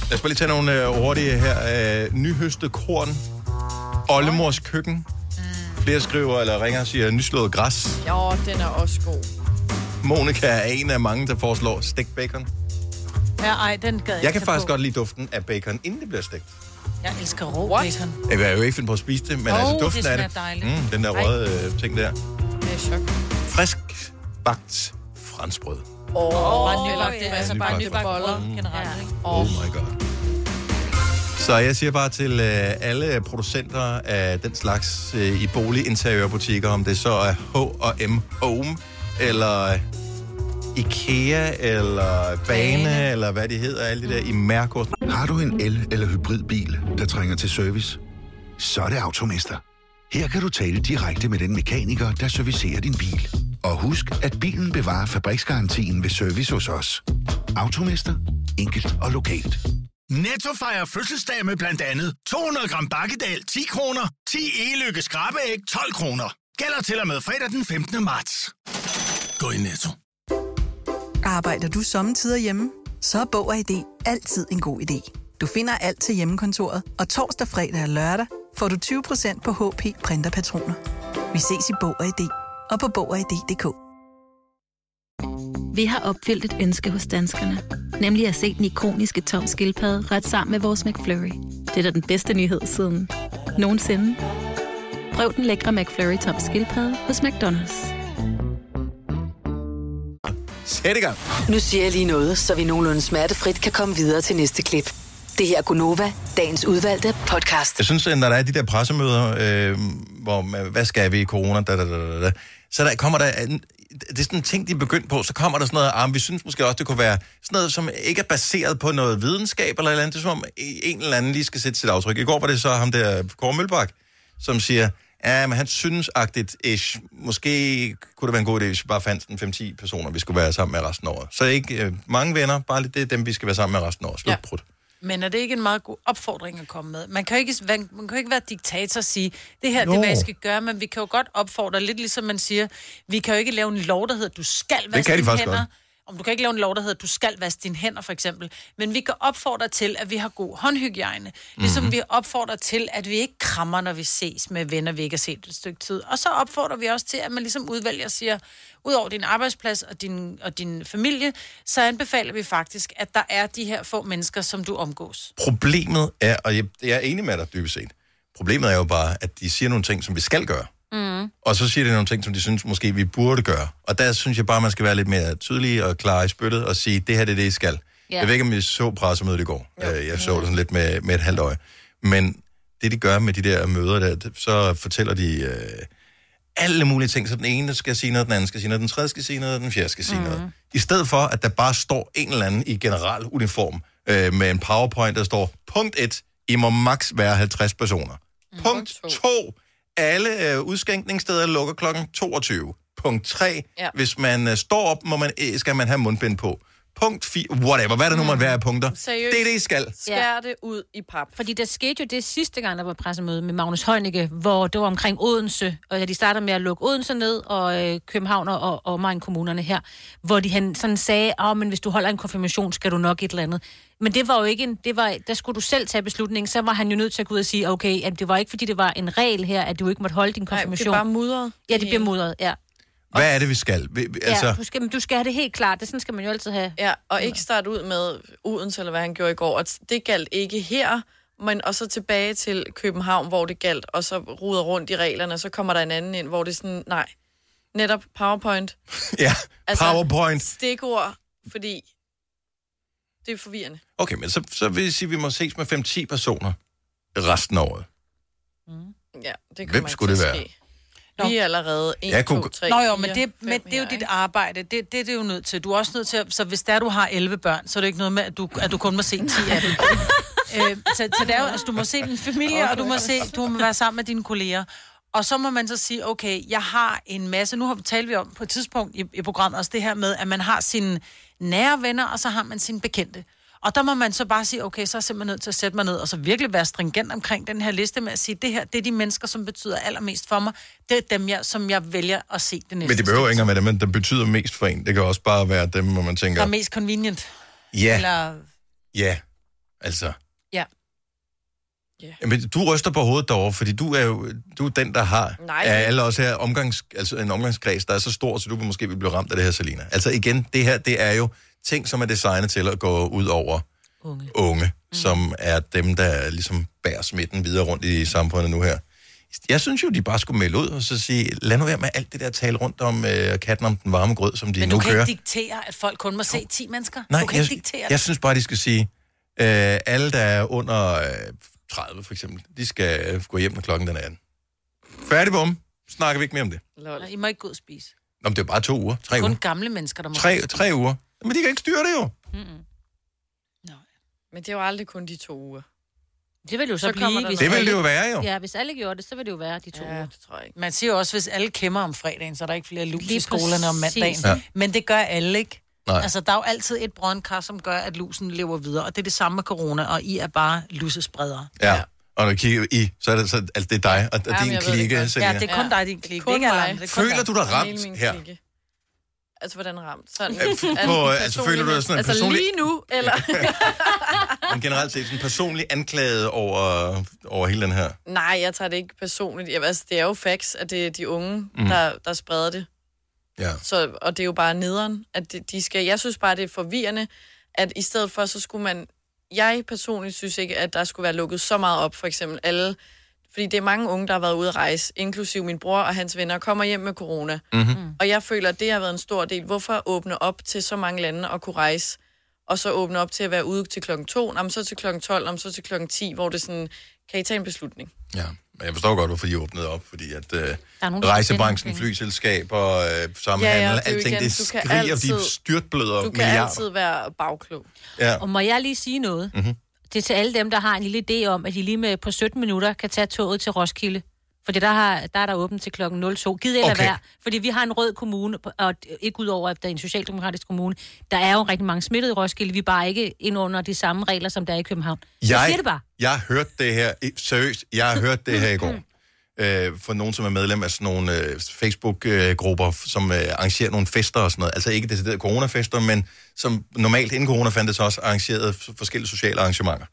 Speaker 1: Lad os bare lige tage nogle øh, hurtige her. Øh, nyhøstet korn. Oldemors køkken. Flere skriver eller ringer og siger nyslået græs.
Speaker 3: Jo, den er også god.
Speaker 1: Monika er en af mange, der foreslår stegt bacon.
Speaker 2: Ja, ej, den gad
Speaker 1: Jeg kan faktisk godt lide duften af bacon, inden det bliver stegt.
Speaker 2: Jeg elsker rå What? bacon.
Speaker 1: Jeg kan jo ikke finde på at spise det, men
Speaker 2: Åh,
Speaker 1: oh, altså
Speaker 2: det
Speaker 1: duften af
Speaker 2: smager
Speaker 1: det.
Speaker 2: dejligt.
Speaker 1: Mm, den der
Speaker 2: Ej.
Speaker 1: røde øh, ting der.
Speaker 3: Det er chok.
Speaker 1: Frisk bagt franskbrød.
Speaker 3: Åh, oh,
Speaker 2: bare nybagt,
Speaker 3: det
Speaker 2: ja.
Speaker 3: er altså bare
Speaker 1: Nybagt
Speaker 3: nybagt boller.
Speaker 2: generelt. Ja.
Speaker 1: Oh my god. Så jeg siger bare til øh, alle producenter af den slags øh, i boliginteriørbutikker, om det så er H&M Home, eller øh, IKEA, eller Bane, eller hvad de hedder, alle de der i mærkos.
Speaker 6: Har du en el- eller hybridbil, der trænger til service? Så er det Automester. Her kan du tale direkte med den mekaniker, der servicerer din bil. Og husk, at bilen bevarer fabriksgarantien ved service hos os. Automester. Enkelt og lokalt.
Speaker 7: Netto fejrer fødselsdag med blandt andet 200 gram bakkedal 10 kroner, 10 e-lykke skrabeæg 12 kroner. Gælder til og med fredag den 15. marts. Gå i Netto.
Speaker 14: Arbejder du sommetider hjemme? Så er Bog og ID altid en god idé. Du finder alt til hjemmekontoret, og torsdag, fredag og lørdag får du 20% på HP printerpatroner. Vi ses i Bog og ID og på Bog og ID.dk.
Speaker 15: Vi har opfyldt et ønske hos danskerne. Nemlig at se den ikoniske tom skildpadde ret sammen med vores McFlurry. Det er da den bedste nyhed siden nogensinde. Prøv den lækre McFlurry tom skildpadde hos McDonald's.
Speaker 1: Sæt i gang.
Speaker 5: Nu siger jeg lige noget, så vi nogenlunde smertefrit kan komme videre til næste klip. Det her er Gunova, dagens udvalgte podcast.
Speaker 1: Jeg synes, at når der er de der pressemøder, øh, hvor man, hvad skal vi i corona, da, da, da, da, da, så der kommer der, en- det er sådan en ting, de er begyndt på, så kommer der sådan noget, ah, men vi synes måske også, det kunne være sådan noget, som ikke er baseret på noget videnskab eller et eller andet, det er som om en eller anden lige skal sætte sit aftryk. I går var det så ham der, Kåre Mølbak, som siger, ja, men han synes agtigt, ish, måske kunne det være en god idé, hvis vi bare fandt sådan 5-10 personer, vi skulle være sammen med resten af året. Så ikke øh, mange venner, bare lidt det er dem, vi skal være sammen med resten af året. Slut, ja.
Speaker 2: Men er det ikke en meget god opfordring at komme med? Man kan jo ikke, man, man kan jo ikke være diktator og sige, det her det er,
Speaker 1: Jo.
Speaker 2: hvad I skal gøre, men vi kan jo godt opfordre, lidt ligesom man siger, vi kan jo ikke lave en lov, der hedder, du skal vaske
Speaker 1: kan de
Speaker 2: dine
Speaker 1: faktisk
Speaker 2: hænder.
Speaker 1: godt.
Speaker 2: Om du kan ikke lave en lov, der hedder, du skal vaske dine hænder, for eksempel. Men vi kan opfordre til, at vi har god håndhygiejne. Ligesom
Speaker 1: Mhm.
Speaker 2: mm-hmm. vi opfordrer til, at vi ikke krammer, når vi ses med venner, vi ikke har set et stykke tid. Og så opfordrer vi også til, at man ligesom udvælger og siger, udover din arbejdsplads og din, og din familie, så anbefaler vi faktisk, at der er de her få mennesker, som du omgås.
Speaker 1: Problemet er, og jeg, jeg er enig med dig dybest set, problemet er jo bare, at de siger nogle ting, som vi skal gøre,
Speaker 16: Mm.
Speaker 1: og så siger de nogle ting, som de synes måske, vi burde gøre. Og der synes jeg bare, man skal være lidt mere tydelig og klar i spyttet og sige, det her det er det, I skal.
Speaker 16: Ja.
Speaker 1: Ja. Jeg ved ikke, om I så pressemødet i går. Øh, Jeg så det sådan lidt med, med et halvt øje. Men det, de gør med de der møder, der, det- så fortæller de øh, alle mulige ting. Så den ene skal sige noget, den anden skal sige noget, den tredje skal sige noget, den fjerde skal sige mm. noget. I stedet for, at der bare står en eller anden i general uniform øh, med en powerpoint, der står, punkt 1, I må maks være 50 personer. Mm. Punkt 2, alle øh, udskænkningssteder lukker klokken 22. Punkt 3,
Speaker 16: Ja.
Speaker 1: ja. hvis man øh, står op, må man, øh, skal man have mundbind på. Punkt 4, whatever, hvad der nu måtte være af punkter.
Speaker 4: Seriøst.
Speaker 1: Det er det, I Mm. skal.
Speaker 4: Skær
Speaker 3: det ud i pap.
Speaker 4: Fordi der skete jo det sidste gang, der var pressemøde med Magnus Heunicke, hvor det var omkring Odense, og de startede med at lukke Odense ned, og øh, København og, og omegn kommunerne her, hvor de han sådan sagde, at men hvis du holder en konfirmation, skal du nok et eller andet. Men det var jo ikke en, det var, der skulle du selv tage beslutningen, så var han jo nødt til at gå ud og sige, okay, at det var ikke fordi, det var en regel her, at du ikke måtte holde din konfirmation.
Speaker 3: bare mudret.
Speaker 4: Ja, det bliver mudret, ja.
Speaker 1: Hvad er det, vi skal? Vi, vi- altså,
Speaker 4: ja du, skal, men du skal have det helt klart, det sådan skal man jo altid have.
Speaker 3: Ja, og ikke starte ud med Odense, eller hvad han gjorde i går. Og det galt ikke her, men og så tilbage til København, hvor det galt, og så ruder rundt i reglerne, og så kommer der en anden ind, hvor det er sådan, nej,
Speaker 1: [LAUGHS]
Speaker 3: netop PowerPoint.
Speaker 1: ja, PowerPoint.
Speaker 3: Stikord, fordi Det er forvirrende.
Speaker 1: Okay, men så, så vil jeg sige, at vi må ses med 5-10 personer resten af året.
Speaker 3: Ja, det kommer
Speaker 1: Hvem
Speaker 3: ikke
Speaker 1: skulle
Speaker 3: til
Speaker 1: det
Speaker 3: at
Speaker 1: være?
Speaker 3: ske. Vi er allerede 1,
Speaker 1: Jeg kunne-
Speaker 3: 2, 3,
Speaker 2: Nå jo, men det, men det er jo dit arbejde. Det, det, det er det jo nødt til. Du er også nødt til at, Så hvis der du har 11 børn, så er det ikke noget med, at du, at du kun må se 10
Speaker 3: [LAUGHS]
Speaker 2: af dem. øh, så, så det er jo, altså, du må se din familie, okay. og du må, se, du må være sammen med dine kolleger. Og så må man så sige, okay, jeg har en masse... Nu har talt vi om på et tidspunkt i, i programmet også det her med, at man har sine nære venner, og så har man sine bekendte. Og der må man så bare sige, okay, så er jeg simpelthen nødt til at sætte mig ned, og så virkelig være stringent omkring den her liste med at sige, det her, det er de mennesker, som betyder allermest for mig. Det er dem, jeg, som jeg vælger at se det næste
Speaker 1: Men det behøver ikke engang være dem, men dem betyder mest for en. Det kan også bare være dem, hvor man
Speaker 2: Der
Speaker 1: tænker,
Speaker 2: er mest convenient.
Speaker 1: Ja.
Speaker 2: Eller,
Speaker 1: ja, altså.
Speaker 2: ja.
Speaker 1: Men du ryster på hovedet derovre, fordi du er jo du er den, der har
Speaker 3: Nej.
Speaker 1: af alle os her omgangs, altså en omgangskreds, der er så stor, så du måske vil blive ramt af det her, Selina. Altså igen, det her, det er jo ting, som er designet til at gå ud over unge, unge mm. som er dem, der ligesom bærer smitten videre rundt i samfundet nu her. Jeg synes jo, de bare skulle melde ud og så sige, lad nu være med alt det der tale rundt om øh, katten om den varme grød, som de
Speaker 2: Men
Speaker 1: nu
Speaker 2: du kan
Speaker 1: kører.
Speaker 2: ikke diktere, at folk kun må se 10 mennesker.
Speaker 1: Nej,
Speaker 2: du kan
Speaker 1: jeg,
Speaker 2: ikke diktere
Speaker 1: jeg
Speaker 2: det.
Speaker 1: synes bare, de skal sige, øh, alle, der er under øh, 30 for eksempel, de skal øh, gå hjem, når klokken den er 18. Færdig bum. Snakker vi ikke mere om det.
Speaker 2: Lol. I må ikke gå ud og spise.
Speaker 1: Nå, men det er bare to uger. Tre
Speaker 2: Kun
Speaker 1: uger.
Speaker 2: gamle mennesker, der må
Speaker 1: Tre, tre uger. Men de kan ikke styre det jo.
Speaker 3: Men det er jo aldrig kun de to uger.
Speaker 4: Det vil det jo så,
Speaker 3: Så kommer
Speaker 4: blive.
Speaker 3: der
Speaker 4: hvis
Speaker 1: noget. Det vil det jo
Speaker 4: alle-
Speaker 1: være, jo.
Speaker 4: Ja, hvis alle gjorde det, så vil det jo være de to ja, uger. det
Speaker 3: tror jeg ikke.
Speaker 2: Man siger jo også, hvis alle kæmmer om fredagen, så er der ikke flere lus
Speaker 4: Lige
Speaker 2: i skolerne om
Speaker 4: præcis.
Speaker 2: mandagen.
Speaker 4: Ja.
Speaker 2: Ja. Men det gør alle ikke.
Speaker 1: Nej.
Speaker 2: Altså, der er jo altid et brøndkar, som gør, at lusen lever videre. Og det er det samme med corona, og I er bare lusespredere.
Speaker 1: Ja. Og når du kigger i, så er det, så, altså, det er dig og, og
Speaker 2: Ja, men
Speaker 1: din
Speaker 2: jeg ved det
Speaker 1: klikke,
Speaker 2: godt.
Speaker 1: Selina.
Speaker 2: Ja, det er kun dig, din klikke. Det er ikke alle andre. Det er kun
Speaker 1: Føler du dig ramt her?
Speaker 3: Altså, hvordan ramt? Sådan,
Speaker 1: Ja, f-
Speaker 3: en
Speaker 1: på, øh, altså, føler du dig sådan en
Speaker 3: altså,
Speaker 1: personlig-
Speaker 3: lige nu, eller?
Speaker 1: Men generelt set sådan personlig anklage over, over hele den her.
Speaker 3: Nej, jeg tager det ikke personligt. Jeg, altså, det er jo facts, at det er de unge,
Speaker 1: Mm.
Speaker 3: mm. der, der spreder det.
Speaker 1: Ja.
Speaker 3: Så, og det er jo bare nederen, at de, de skal... Jeg synes bare, det er forvirrende, at i stedet for, så skulle man... Jeg personligt synes ikke, at der skulle være lukket så meget op, for eksempel alle... Fordi det er mange unge, der har været ude at rejse, inklusive min bror og hans venner, kommer hjem med corona.
Speaker 1: Mm.
Speaker 16: Mhm.
Speaker 3: Og jeg føler, at det har været en stor del. Hvorfor åbne op til så mange lande og kunne rejse, og så åbne op til at være ude til klokken 2, om så til klokken 12, om så til klokken 10, hvor det er sådan, kan I tage en beslutning?
Speaker 1: Ja, men jeg forstår godt, hvorfor de åbnede op, fordi at øh,
Speaker 3: er nogen, der
Speaker 1: rejsebranchen,
Speaker 3: tjener penge.
Speaker 1: flyselskaber, øh, samhandel,
Speaker 3: Ja, ja,
Speaker 1: ja, ja,
Speaker 3: det er jo
Speaker 1: alting,
Speaker 3: igen,
Speaker 1: det
Speaker 3: du kan
Speaker 1: skriger, altid, de
Speaker 3: altid-
Speaker 1: styrtbløder
Speaker 3: Du kan
Speaker 1: milliarder.
Speaker 3: altid være bagklog.
Speaker 1: Ja.
Speaker 4: Og må jeg lige sige noget?
Speaker 1: Mhm.
Speaker 4: Det er til alle dem, der har en lille idé om, at de lige med på 17 minutter kan tage toget til Roskilde. Fordi der, har, der er der åbent til klokken 02. Gid eller
Speaker 16: Okay.
Speaker 4: okay. Fordi vi har en rød kommune, og ikke udover, at der er en socialdemokratisk kommune. Der er jo rigtig mange smittede i Roskilde. Vi er bare ikke ind under de samme regler, som der er i København. Jeg, jeg siger det bare.
Speaker 1: Jeg hørte det her, i- seriøst, jeg har hørt det her i går.
Speaker 4: Mm.
Speaker 1: Øh, for nogen, som er medlem af sådan nogle øh, Facebook-grupper, f- som øh, arrangerer nogle fester og sådan noget. Altså ikke deciderede coronafester, men som normalt inden corona fandtes også arrangerede f- forskellige sociale arrangementer.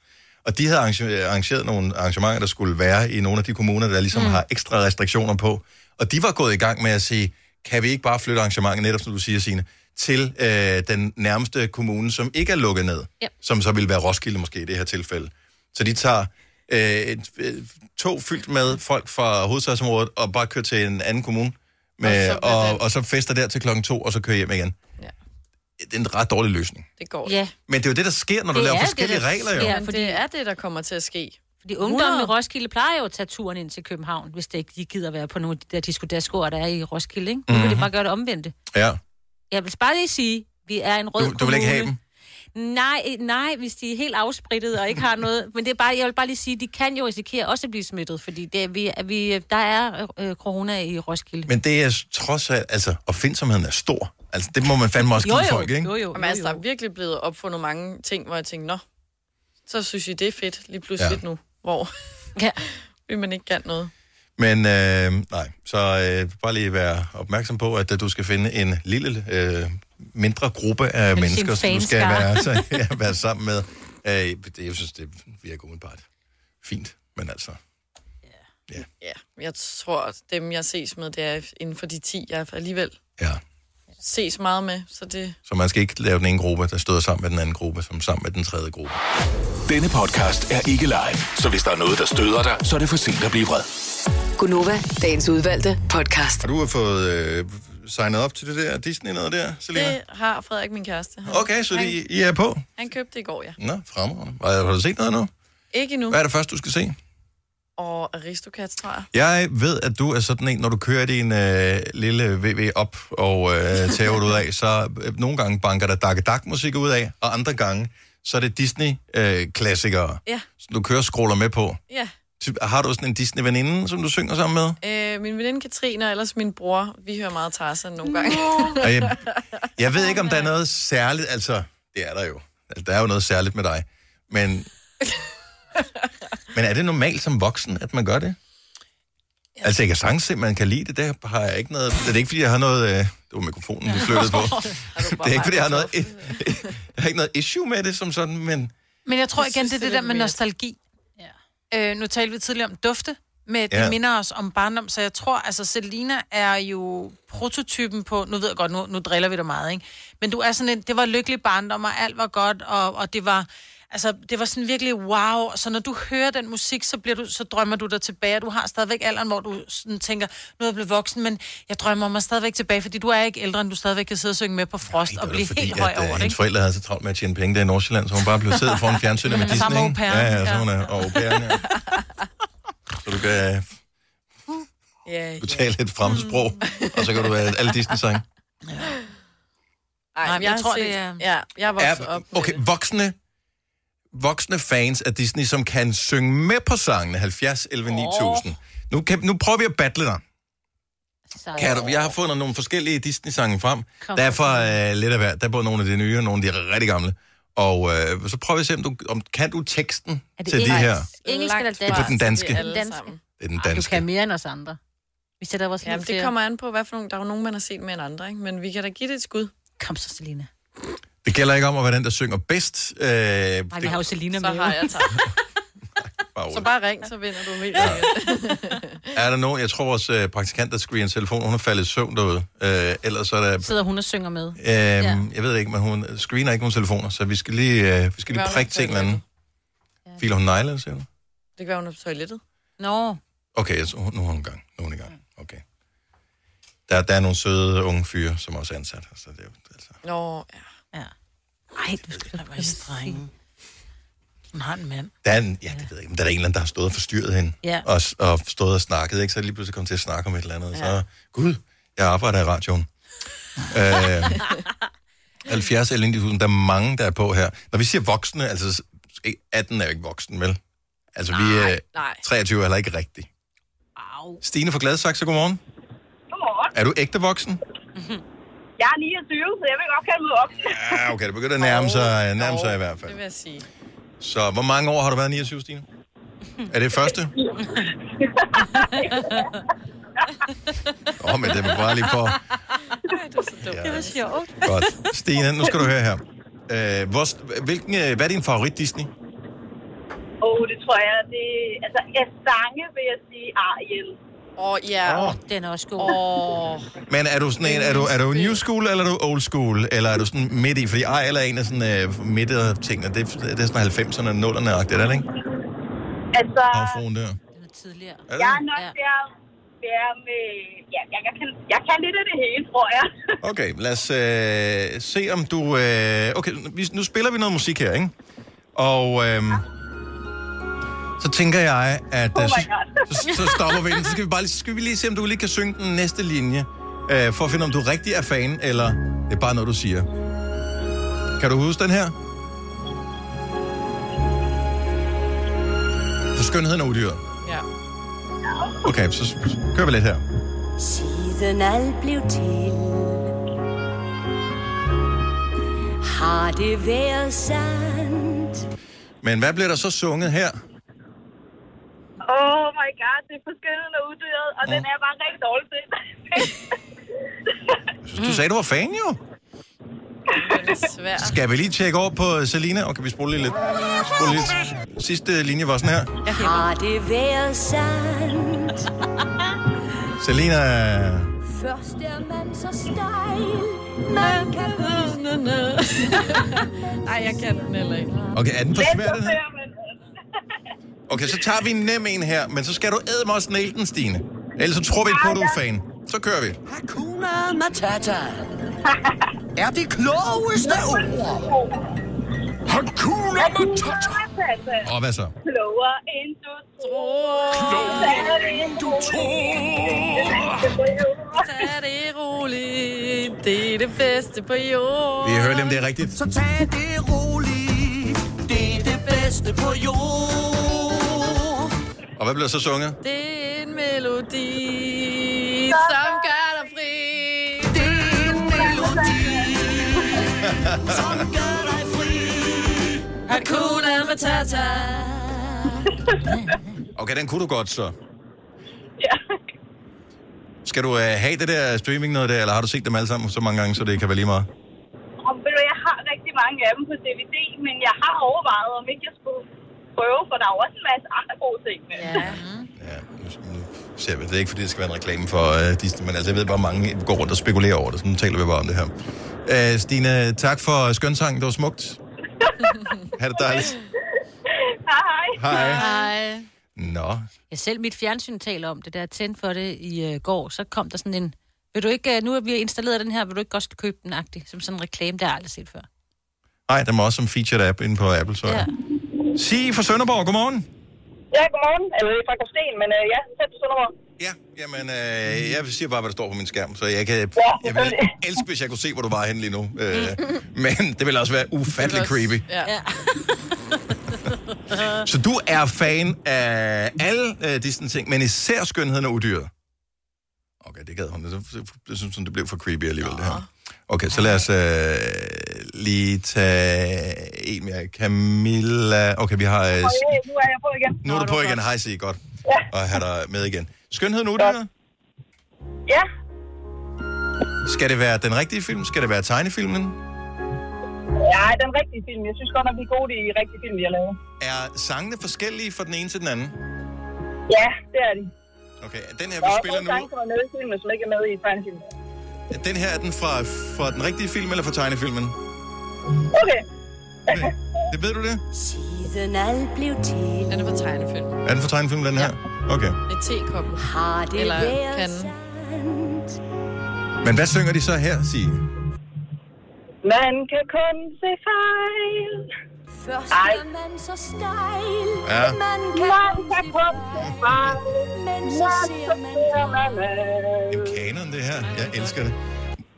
Speaker 1: Og de havde arrange- arrangeret nogle arrangementer, der skulle være i nogle af de kommuner, der ligesom mm. har ekstra restriktioner på. Og de var gået i gang med at sige, kan vi ikke bare flytte arrangementet, netop som du siger, Signe, til øh, den nærmeste kommune, som ikke er lukket ned,
Speaker 4: Yep.
Speaker 1: som så ville være Roskilde måske i det her tilfælde. Så de tager øh, et, øh, tog fyldt med folk fra hovedstadsområdet og bare kører til en anden kommune, med, og, så og, og så fester der til klokken to, og så kører hjem igen. Ja. Det er en ret dårlig løsning.
Speaker 3: Det går
Speaker 4: Ja.
Speaker 1: Men det er jo det, der sker, når du laver forskellige regler. Jo.
Speaker 4: Ja,
Speaker 3: Men
Speaker 4: fordi-
Speaker 3: det er det, der kommer til at ske.
Speaker 4: Fordi ungdommen i Roskilde plejer jo at tage turen ind til København, hvis det ikke de gider være på nogle af de der diskodaskoer, der er i Roskilde. Ikke? Nu mm-hmm. kan de
Speaker 1: Mhm.
Speaker 4: bare gøre det omvendte.
Speaker 1: Ja.
Speaker 4: Jeg vil bare lige sige, vi er en rød
Speaker 1: Du, du vil ikke have dem?
Speaker 4: kommune. Nej, eh, nej, hvis de er helt afsprittet og ikke
Speaker 1: [LAUGHS]
Speaker 4: har noget. Men det er bare, jeg vil bare lige sige, de kan jo risikere også at blive smittet, fordi det er, vi, er vi, der er øh, corona i Roskilde.
Speaker 1: Men det er trods alt, altså, opfindsomheden er stor. Altså, det må man fandme også give folk, ikke?
Speaker 3: Jamen, altså, der er virkelig blevet opfundet mange ting, hvor jeg tænkte, nå, så synes I, det er fedt lige pludselig
Speaker 1: Ja.
Speaker 3: ja. nu, hvor
Speaker 4: ja.
Speaker 3: [LAUGHS] vil man ikke kan noget.
Speaker 1: Men øh, nej, så øh, bare lige være opmærksom på, at øh, du skal finde en lille, øh, mindre gruppe af
Speaker 16: En
Speaker 1: mennesker, som du skal
Speaker 16: fanskare.
Speaker 1: være, så, ja, være sammen med. Øh, det, jeg synes, det virker umiddelbart fint, men altså...
Speaker 3: Ja, men jeg tror, at dem, jeg ses med, det er inden for de 10, jeg alligevel
Speaker 1: Ja.
Speaker 3: ses meget med, så det...
Speaker 1: Så man skal ikke lave den ene gruppe, der støder sammen med den anden gruppe, som sammen med den tredje gruppe.
Speaker 17: Denne podcast er ikke live, så hvis der er noget, der støder dig, så er det for sent at blive vred.
Speaker 5: Gunova, dagens udvalgte podcast.
Speaker 1: Har du fået øh, signet op til det der Disney noget der, Selina?
Speaker 3: Det har Frederik, min kæreste. Han-
Speaker 1: Okay, så
Speaker 3: han,
Speaker 1: de, I er på?
Speaker 3: han købte det i går, ja.
Speaker 1: Nå, fremragende. Har har du set noget nu?
Speaker 3: Ikke endnu.
Speaker 1: Hvad er det første, du skal se?
Speaker 3: Og Aristocats, tror jeg.
Speaker 1: Jeg ved, at du er sådan en, når du kører din øh, lille VV op og øh, tager ud af, så øh, nogle gange banker der dak dak musik ud af, og andre gange, så er det Disney-klassikere,
Speaker 3: Ja,
Speaker 1: som du kører og scroller med på.
Speaker 3: ja.
Speaker 1: Ty- Har du sådan en Disney-veninde, som du synger sammen med?
Speaker 3: Øh, min veninde Katrine og ellers min bror, vi hører meget Tarzan nogle gange. [LAUGHS]
Speaker 1: Og jeg, jeg ved ikke, om der er noget særligt, altså, det er der jo. Altså, der er jo noget særligt med dig. Men, men er det normalt som voksen, at man gør det? Altså, jeg kan sagtens se, at man kan lide det. Der har jeg ikke noget... Det er ikke, fordi jeg har noget... Øh, det var mikrofonen, vi flyttede
Speaker 2: [LAUGHS]
Speaker 1: på. det er ikke, fordi jeg har noget... [LAUGHS] Jeg har ikke noget issue med det som sådan, men...
Speaker 2: Men jeg tror
Speaker 4: Jeg
Speaker 2: igen,
Speaker 4: synes,
Speaker 2: det er
Speaker 4: det
Speaker 2: det
Speaker 4: er
Speaker 2: der med
Speaker 4: lidt
Speaker 2: nostalgi. Ja. Øh, nu talte vi tidligere om dufte, med, det
Speaker 1: Ja.
Speaker 2: ja. minder os om barndom, så jeg tror, altså Selina er jo prototypen på, nu ved jeg godt, nu, nu driller vi dig meget, ikke? Men du er sådan en, det var lykkelig barndom, og alt var godt, og, og det var, altså, det var sådan virkelig wow, så når du hører den musik, så, bliver du, så drømmer du dig tilbage, og du har stadigvæk alderen, hvor du sådan tænker, nu er jeg blevet voksen, men jeg drømmer mig stadigvæk tilbage, fordi du er ikke ældre, end du stadigvæk kan sidde og synge med på frost og blive
Speaker 1: fordi,
Speaker 2: helt høj
Speaker 1: at, øh,
Speaker 2: over det,
Speaker 1: hendes
Speaker 2: ikke?
Speaker 1: forældre havde så travlt med at tjene penge der i Nordsjælland, så hun
Speaker 2: [LAUGHS]
Speaker 1: bare blev siddet foran fjernsynet med
Speaker 2: Men sammen
Speaker 1: Disney.
Speaker 2: med
Speaker 1: ikke?
Speaker 2: au
Speaker 1: Ja,
Speaker 2: pairen,
Speaker 1: ja, så
Speaker 2: ja.
Speaker 1: hun er og au pairen, ja. Så du kan
Speaker 3: Ja,
Speaker 1: du tale et fremmedsprog,
Speaker 4: Mm.
Speaker 1: og så kan du være alle Disney-sange.
Speaker 3: Ej,
Speaker 2: men jeg
Speaker 3: har
Speaker 2: tror,
Speaker 3: set,
Speaker 2: det er-
Speaker 3: Ja, jeg er vokset
Speaker 1: Er-
Speaker 3: op med
Speaker 1: Okay, voksne, voksne fans af Disney, som kan synge med på sangene 70, 11, 9000. Nu, kan, nu prøver vi at battle dig. Kan du, jeg har fundet nogle forskellige Disney-sange frem.
Speaker 10: Kom.
Speaker 1: Der er fra øh, lidt af hver. Der er både nogle af de nye, og nogle af de rigtig gamle. Og øh, så prøver vi at se, om du om, kan du teksten til de her.
Speaker 4: Engelsk eller dansk?
Speaker 1: Det er på den danske.
Speaker 4: Den danske.
Speaker 1: Det er den
Speaker 4: Ah, Du
Speaker 1: danske.
Speaker 4: kan mere end os andre.
Speaker 3: [LAUGHS]
Speaker 4: Vi sætter vores
Speaker 3: Jamen,
Speaker 4: liv til.
Speaker 3: det kommer an på, hvad for nogle, der er jo nogen, man har set mere end andre, ikke? men vi kan da give det et skud.
Speaker 4: Kom så, Selina.
Speaker 1: Det gælder ikke om at være den, der synger bedst. Øh, det,
Speaker 4: Ej, vi har jo Selina med.
Speaker 3: Så har jeg tabt.
Speaker 4: [LAUGHS]
Speaker 3: så bare ring, så vinder du helt ja.
Speaker 1: [LAUGHS] er der nogen? Jeg tror, vores øh, praktikant, der skriger en telefon, hun er faldet i søvn derude. Øh, ellers så er der
Speaker 4: Sidder hun og synger med.
Speaker 1: Øhm, ja. Jeg ved det ikke, men hun screener ikke nogen telefoner, så vi skal lige, øh, vi skal lige
Speaker 3: Hvad
Speaker 1: prikke
Speaker 3: hun
Speaker 1: til en eller anden. Filer hun negle, siger du?
Speaker 3: Det kan være, hun er på toilettet. Nå.
Speaker 1: Okay, jeg tror, nu er hun i gang. Nu er hun i
Speaker 2: Mm.
Speaker 1: gang. Okay. Der, der er nogle søde unge fyre, som også er ansat. her, Så det, er jo- altså,
Speaker 3: Nå, ja.
Speaker 2: ja. Ej, du skal da være streng. Hun har en mand.
Speaker 1: der er en, ja, det ved jeg ikke, men der er en eller anden, der har stået og forstyrret hende.
Speaker 2: Ja.
Speaker 1: Og, s- og stået og snakket, ikke? Så lige pludselig kom til at snakke om et eller andet. Ja.
Speaker 2: Ja.
Speaker 1: Så, gud, jeg arbejder i
Speaker 2: [LAUGHS]
Speaker 1: radioen. øh, 70 eller 9000, der er mange, der er på her. Når vi siger voksne, altså s- 18 er jo ikke voksen, vel? Altså vi er
Speaker 3: nej.
Speaker 1: 23 er heller ikke rigtig. Au. Stine fra Gladsaxe, godmorgen.
Speaker 11: Godmorgen.
Speaker 8: [LAUGHS]
Speaker 1: Er du ægte voksen?
Speaker 11: Jeg er 29, så jeg vil godt kalde mig op.
Speaker 1: Ja, okay, det begynder at nærme sig, nærme sig i hvert fald.
Speaker 11: vil jeg sige.
Speaker 1: Så hvor mange år har du været 29, Stine? Er det
Speaker 8: [LAUGHS]
Speaker 1: [LAUGHS] første? Åh, oh, men det var bare lige for...
Speaker 16: Det var sjovt.
Speaker 1: Godt. Stine, nu skal du høre her. Øh, hvor, hvilken, øh, hvad er din favorit Disney?
Speaker 11: Åh, oh, det tror jeg, det... Altså, jeg sange, vil jeg sige, Ariel.
Speaker 3: Åh, oh, ja.
Speaker 1: Åh.
Speaker 4: Den er også god.
Speaker 3: Oh.
Speaker 1: Men er du sådan en, er du, er du new school, eller er du old school? Eller er du sådan midt i? Fordi ej, eller en af sådan øh, midt af tingene. Det, er- det er sådan 90'erne, 0'erne-agtigt, er det ikke?
Speaker 11: Altså,
Speaker 1: Havfruen der.
Speaker 4: tidligere.
Speaker 1: Er det
Speaker 11: jeg er
Speaker 1: det?
Speaker 11: nok ja. der, der med... Ja, jeg, jeg, kan, jeg kan lidt af det hele, tror jeg.
Speaker 1: Okay, lad os øh, se, om du... Øh, okay, vi, nu spiller vi noget musik her, ikke? Og øh, så tænker jeg, at...
Speaker 11: Oh
Speaker 1: øh,
Speaker 11: my
Speaker 1: så, så, så stopper vi den. Så skal vi, bare, lige- så skal vi lige se, om du lige kan synge den næste linje. Øh, for at finde, om du rigtig er fan, eller det er bare noget, du siger. Kan du huske den her? For skønheden og udyret.
Speaker 3: Ja.
Speaker 1: Okay, så s- kører vi lidt her.
Speaker 12: Siden alt blev til Har det været sandt
Speaker 1: Men hvad bliver der så sunget her?
Speaker 11: oh my god, det er forskelligt og uddyret, og den er bare rigtig dårlig til.
Speaker 1: Du sagde, du var fan, jo.
Speaker 3: Den er svær.
Speaker 1: Skal vi lige tjekke over på øh, Selina? Og kan vi spole lige lidt? Spole lige lidt. Sidste linje var sådan her.
Speaker 12: Har det været sandt [LAUGHS]
Speaker 1: Selina...
Speaker 12: Først er man så stejl Man kan
Speaker 3: Nej, jeg kan den heller ikke.
Speaker 1: Okay, er den for svær, den her? Okay, så tager vi en nem en her, men så skal du æde mig også næle den, Stine. Ellers så tror vi ikke på, at du er fan. Så kører vi.
Speaker 10: Hakuna Matata [LAUGHS] er det klogeste ord.
Speaker 17: Hakuna
Speaker 10: Matata.
Speaker 1: Og hvad så?
Speaker 11: Klogere end du tror.
Speaker 17: Klogere end du
Speaker 3: tror. Tag det roligt, det er det bedste på jorden.
Speaker 1: Vi hører lige, om det er rigtigt.
Speaker 10: Så tag det roligt, det er det bedste på jord.
Speaker 1: Og hvad bliver så sunget? [LAUGHS]
Speaker 3: Det er en melodi, som gør dig fri. Det er en melodi, som gør dig fri. Hakuna Matata.
Speaker 1: Okay, den kunne du godt så. Ja. Skal du øh, have det der streaming noget der, eller har du set dem alle sammen så mange gange, så det kan være lige meget?
Speaker 11: [LAUGHS] Og ved du, jeg har rigtig mange af dem på DVD, men jeg har overvejet, om ikke jeg skulle prøve, for der er jo også en masse andre gode ting. Ja.
Speaker 1: Ser vi. Det er ikke, fordi det skal være en reklame for øh, Disney, men altså, jeg ved bare, mange går rundt og spekulerer over det, så nu taler vi bare om det her. Øh, Stine, tak for skønsangen. Det var [LAUGHS] smukt. ha' det dejligt.
Speaker 11: Hej.
Speaker 1: Hej.
Speaker 4: Hej.
Speaker 1: Nå,
Speaker 4: Ja, selv mit fjernsyn taler om det. Da jeg tændte for det i øh, går, så kom der sådan en... Vil du ikke, øh, nu har vi installeret den her, vil du ikke godt købe den agtig? Som sådan en reklame, der har jeg aldrig set før.
Speaker 1: Nej, den var også som featured app inde på Apple, så. Ja. Sige fra Sønderborg, godmorgen.
Speaker 11: Ja, godmorgen. Eller det er fra Gråsten, men øh, ja, selv på Sønderborg.
Speaker 1: Ja, jamen, øh, jeg siger bare, hvad der står på min skærm, så jeg kan... Jeg vil elske, hvis jeg kunne se, hvor du var henne lige nu. [LAUGHS] Øh, men det ville også være ufattelig creepy.
Speaker 3: Ja. ja. [LAUGHS]
Speaker 1: Så du er fan af alle øh, Disney ting, men især skønheden og udyret. Okay, det gad hun. Det, det, det synes hun, det blev for creepy alligevel, det her. Okay, så lad os øh, lige tage en mere. Camilla. Okay, vi har... Øh,
Speaker 11: Og, øh, nu er jeg på igen.
Speaker 1: nu er du på igen. Hej, sig godt. Og have dig med igen. Skønheden og udyret?
Speaker 11: Ja,
Speaker 1: Skal det være den rigtige film? Skal det være tegnefilmen?
Speaker 11: ja, den rigtige film. Jeg synes godt, at vi er gode i rigtige film, vi har lavet.
Speaker 1: Er sangene forskellige fra den ene til den anden?
Speaker 11: Ja, det er de.
Speaker 1: Okay, er den her,
Speaker 11: Der er
Speaker 1: vi
Speaker 11: også
Speaker 1: spiller
Speaker 11: nogle sange,
Speaker 1: nu,
Speaker 11: som er med i filmen, som ikke er med i tegnefilmen.
Speaker 1: er den her er den fra, fra den rigtige film eller fra tegnefilmen?
Speaker 11: Okay.
Speaker 1: Det ved du det?
Speaker 16: Siden alt blev til.
Speaker 3: Den er på tegnefilm.
Speaker 1: Er den fra tegnefilmen, den her? Okay.
Speaker 3: Et tekoppen.
Speaker 16: Har det
Speaker 3: Eller
Speaker 16: været
Speaker 3: kanden.
Speaker 1: Men hvad synger de så her, sige?
Speaker 11: Man kan kun se fejl.
Speaker 12: Først
Speaker 11: Ej.
Speaker 12: er man så stejl,
Speaker 1: Ja.
Speaker 12: man kan man kun se fejl, men så ser man
Speaker 1: Det er jo kanon, det her. Jeg elsker det.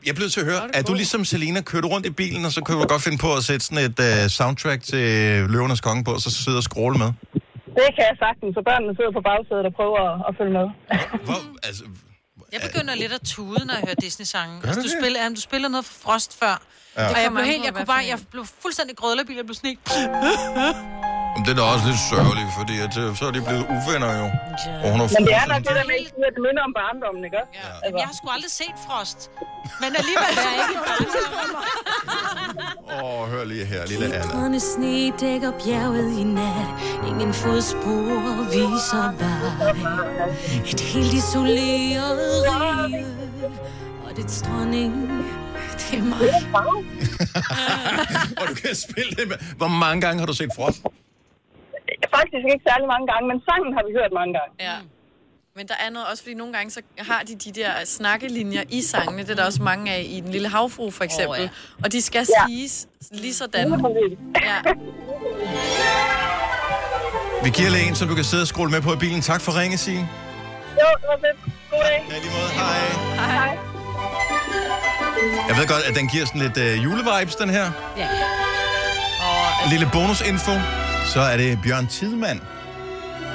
Speaker 1: Jeg blev til at høre, er du ligesom Selina, kører du rundt i bilen, og så kunne du godt finde på at sætte sådan et uh, soundtrack til Løvernes Konge på, og så sidde og scrolle med?
Speaker 11: Det kan jeg sagtens, så børnene sidder på bagsædet og prøver at, at følge med.
Speaker 2: Jeg begynder lidt at tude, når jeg hører Disney-sange.
Speaker 1: Gør
Speaker 2: Altså,
Speaker 1: du
Speaker 2: du,
Speaker 1: det?
Speaker 2: spiller, jamen, du spiller noget fra Frost før.
Speaker 1: Ja.
Speaker 2: Ja.
Speaker 1: Det
Speaker 2: Og jeg
Speaker 1: kommer
Speaker 2: blev
Speaker 1: an
Speaker 2: helt,
Speaker 1: på,
Speaker 2: jeg
Speaker 1: hvad
Speaker 2: kunne
Speaker 1: for
Speaker 2: bare, jeg blev fuldstændig grødlerbil, jeg blev sådan
Speaker 1: [LAUGHS]
Speaker 2: helt...
Speaker 1: Men det er da også lidt sørgeligt, fordi at, øh, så er de blevet uvenner jo. Og hun
Speaker 11: Men det er
Speaker 1: har fuldstændig-
Speaker 11: nok det der med, at det minder om barndommen, ikke også? Altså. Ja.
Speaker 2: Jamen, jeg har sgu aldrig set Frost.
Speaker 11: [LAUGHS]
Speaker 2: Men alligevel så er jeg ikke
Speaker 1: Åh, oh, hør lige her, lille Anna.
Speaker 16: Grønne sne dækker bjerget i nat. Ingen fodspor viser vej. Et helt isoleret rige. Og det dronning, det er mig.
Speaker 1: og du kan spille det med. Hvor mange gange har du set Frost?
Speaker 11: Faktisk ikke særlig mange gange, men sangen har vi hørt mange gange.
Speaker 3: Ja. Men der er noget også, fordi nogle gange så har de de der snakkelinjer i sangene. Det er der også mange af i Den Lille Havfru, for eksempel. Oh, ja. Og de skal
Speaker 11: Ja.
Speaker 3: ja. siges lige sådan. Ja.
Speaker 1: Vi giver lige en, som du kan sidde og scrolle med på i bilen. Tak for ringe, Signe.
Speaker 11: Jo, det var fedt. God dag.
Speaker 1: Ja, lige måde. Hej.
Speaker 11: Hej.
Speaker 1: Jeg ved godt, at den giver sådan lidt øh, julevibes, den her.
Speaker 4: Ja.
Speaker 1: Lille bonusinfo. Så er det Bjørn Tidemand,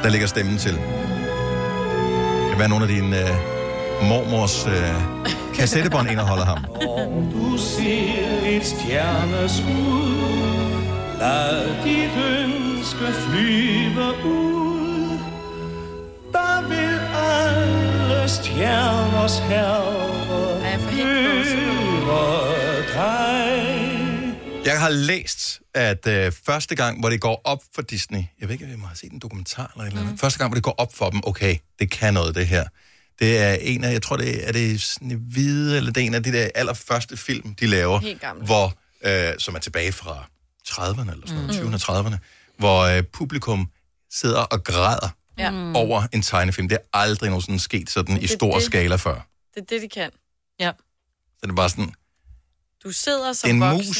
Speaker 1: der lægger stemmen til. Det kan være, nogle af dine øh, mormors øh, kassettebånd indeholder ham.
Speaker 13: Du ser et stjerneskud Lad dit ønske flyve ud Der vil alle stjerners herre Høre dig
Speaker 1: Jeg har læst, at øh, første gang, hvor det går op for Disney, jeg ved ikke, om jeg har set en dokumentar eller et eller andet,
Speaker 3: Mm.
Speaker 1: første gang, hvor det går op for dem, okay, det kan noget, det her. Det er en af, jeg tror, det er, er det Snevide, eller det er en af de der allerførste film, de laver,
Speaker 13: Helt gamle.
Speaker 1: hvor, øh, som er tilbage fra 30'erne, eller sådan
Speaker 3: Mm.
Speaker 1: noget, 20'erne og 30'erne, hvor øh, publikum sidder og græder
Speaker 3: Ja.
Speaker 1: Mm. over en tegnefilm. Det er aldrig nogensinde sket sådan i
Speaker 3: Mm. Det er
Speaker 1: stor
Speaker 3: det.
Speaker 1: skala før.
Speaker 3: Det er det, de kan.
Speaker 1: Så det er bare sådan,
Speaker 3: Du sidder som
Speaker 1: En
Speaker 3: voksen
Speaker 1: mus.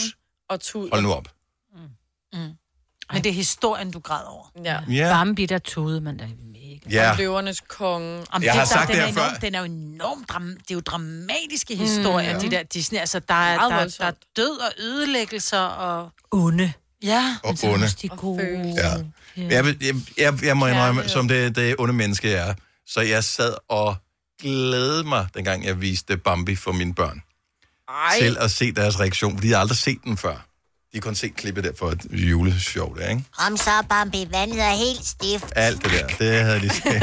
Speaker 3: og tuder.
Speaker 1: hold nu op.
Speaker 2: Mm. Men det er historien, du græder over.
Speaker 3: Ja.
Speaker 1: Ja.
Speaker 4: Bambi, der tude man da.
Speaker 1: Ja.
Speaker 3: Om løvernes konge.
Speaker 2: Om
Speaker 1: Jeg har sagt
Speaker 2: den
Speaker 1: det
Speaker 2: er
Speaker 1: her før.
Speaker 2: enormt, Den er jo enormt dram, det er jo dramatiske historier,
Speaker 1: Mm.
Speaker 2: mm,
Speaker 1: Ja.
Speaker 2: de der Disney. Altså, der er,
Speaker 4: Meget
Speaker 2: der, der er
Speaker 4: voldsomt.
Speaker 2: død og ødelæggelser og...
Speaker 4: Onde.
Speaker 2: Ja.
Speaker 1: Og onde.
Speaker 4: De er gode.
Speaker 1: Ja. Mm. Jeg, vil- jeg, jeg, jeg må indrømme, som det, det onde menneske jeg er, så jeg sad og glædede mig, dengang jeg viste Bambi for mine børn, Ej. til at se deres reaktion, fordi jeg har aldrig set den før. De har kun set klippet der for et juleshow der, ikke?
Speaker 22: Kom så, Bambi. Vandet er helt stift.
Speaker 1: Alt det der, det havde de [LAUGHS] set.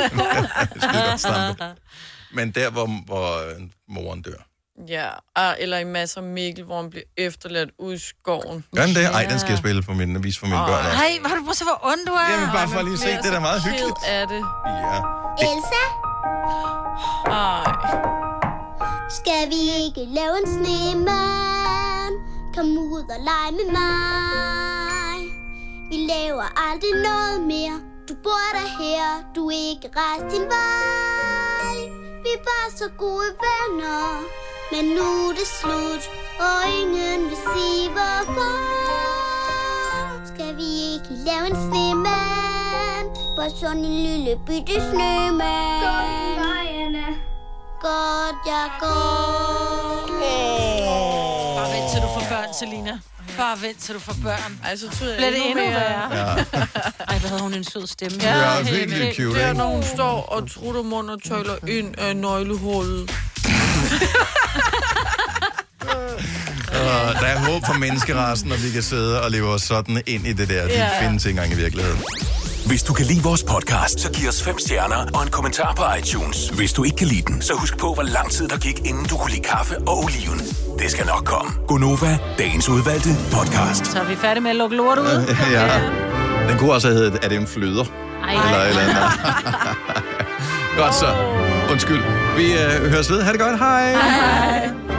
Speaker 1: Men der, hvor, hvor øh, moren dør.
Speaker 3: Ja, og- eller i masser af Mikkel, hvor han bliver efterladt ude i skoven.
Speaker 1: Gør den det? Ej, den skal jeg spille for mine, vise for mine børn også.
Speaker 2: Hej, hvor du prøver at se, hvor ond du er.
Speaker 1: Jamen, bare for lige at se, det
Speaker 3: altså,
Speaker 1: er da meget hyggeligt.
Speaker 3: Er det?
Speaker 1: Ja.
Speaker 22: Elsa?
Speaker 3: Ej.
Speaker 22: Skal vi ikke lave en snemand? Kom ud og leg med mig. Vi laver aldrig noget mere. Du bor der her, du er ikke rejst din vej. Vi var så gode venner, men nu er det slut, og ingen vil sige hvorfor. Skal vi ikke lave en snemand? På sådan en lille bitte snemand. Gå i vejene. Godt, jeg går.
Speaker 2: Bare vent, til du får børn, Selina. Bare vent, til du får børn.
Speaker 3: Ej, så tyder
Speaker 2: Bliver det endnu
Speaker 3: endnu
Speaker 16: [LAUGHS]
Speaker 2: værre?
Speaker 3: mere.
Speaker 1: Ja.
Speaker 4: Ej, hvad havde hun en sød stemme.
Speaker 1: Ja, Det er virkelig
Speaker 3: helt
Speaker 1: cute,
Speaker 3: Det er,
Speaker 1: ikke?
Speaker 3: når hun står og trutter mund og tøjler ind af nøglehullet.
Speaker 1: Og der er håb for menneskerassen, og vi kan sidde og leve os sådan ind i det der. De
Speaker 17: Ja.
Speaker 1: findes ikke engang i virkeligheden.
Speaker 17: Hvis du kan lide vores podcast, så giv os fem stjerner og en kommentar på iTunes. Hvis du ikke kan lide den, så husk på, hvor lang tid der gik, inden du kunne lide kaffe og oliven. Det skal nok komme. Gonova, dagens udvalgte podcast.
Speaker 2: Så er vi færdige med at lukke lort ud.
Speaker 1: [LAUGHS] ja. Den kunne også have heddet, er det en flyder?
Speaker 2: Ej.
Speaker 1: Eller et eller andet. Godt så. Undskyld. Vi øh, høres ved. Ha' det godt. Hej.
Speaker 2: Hej.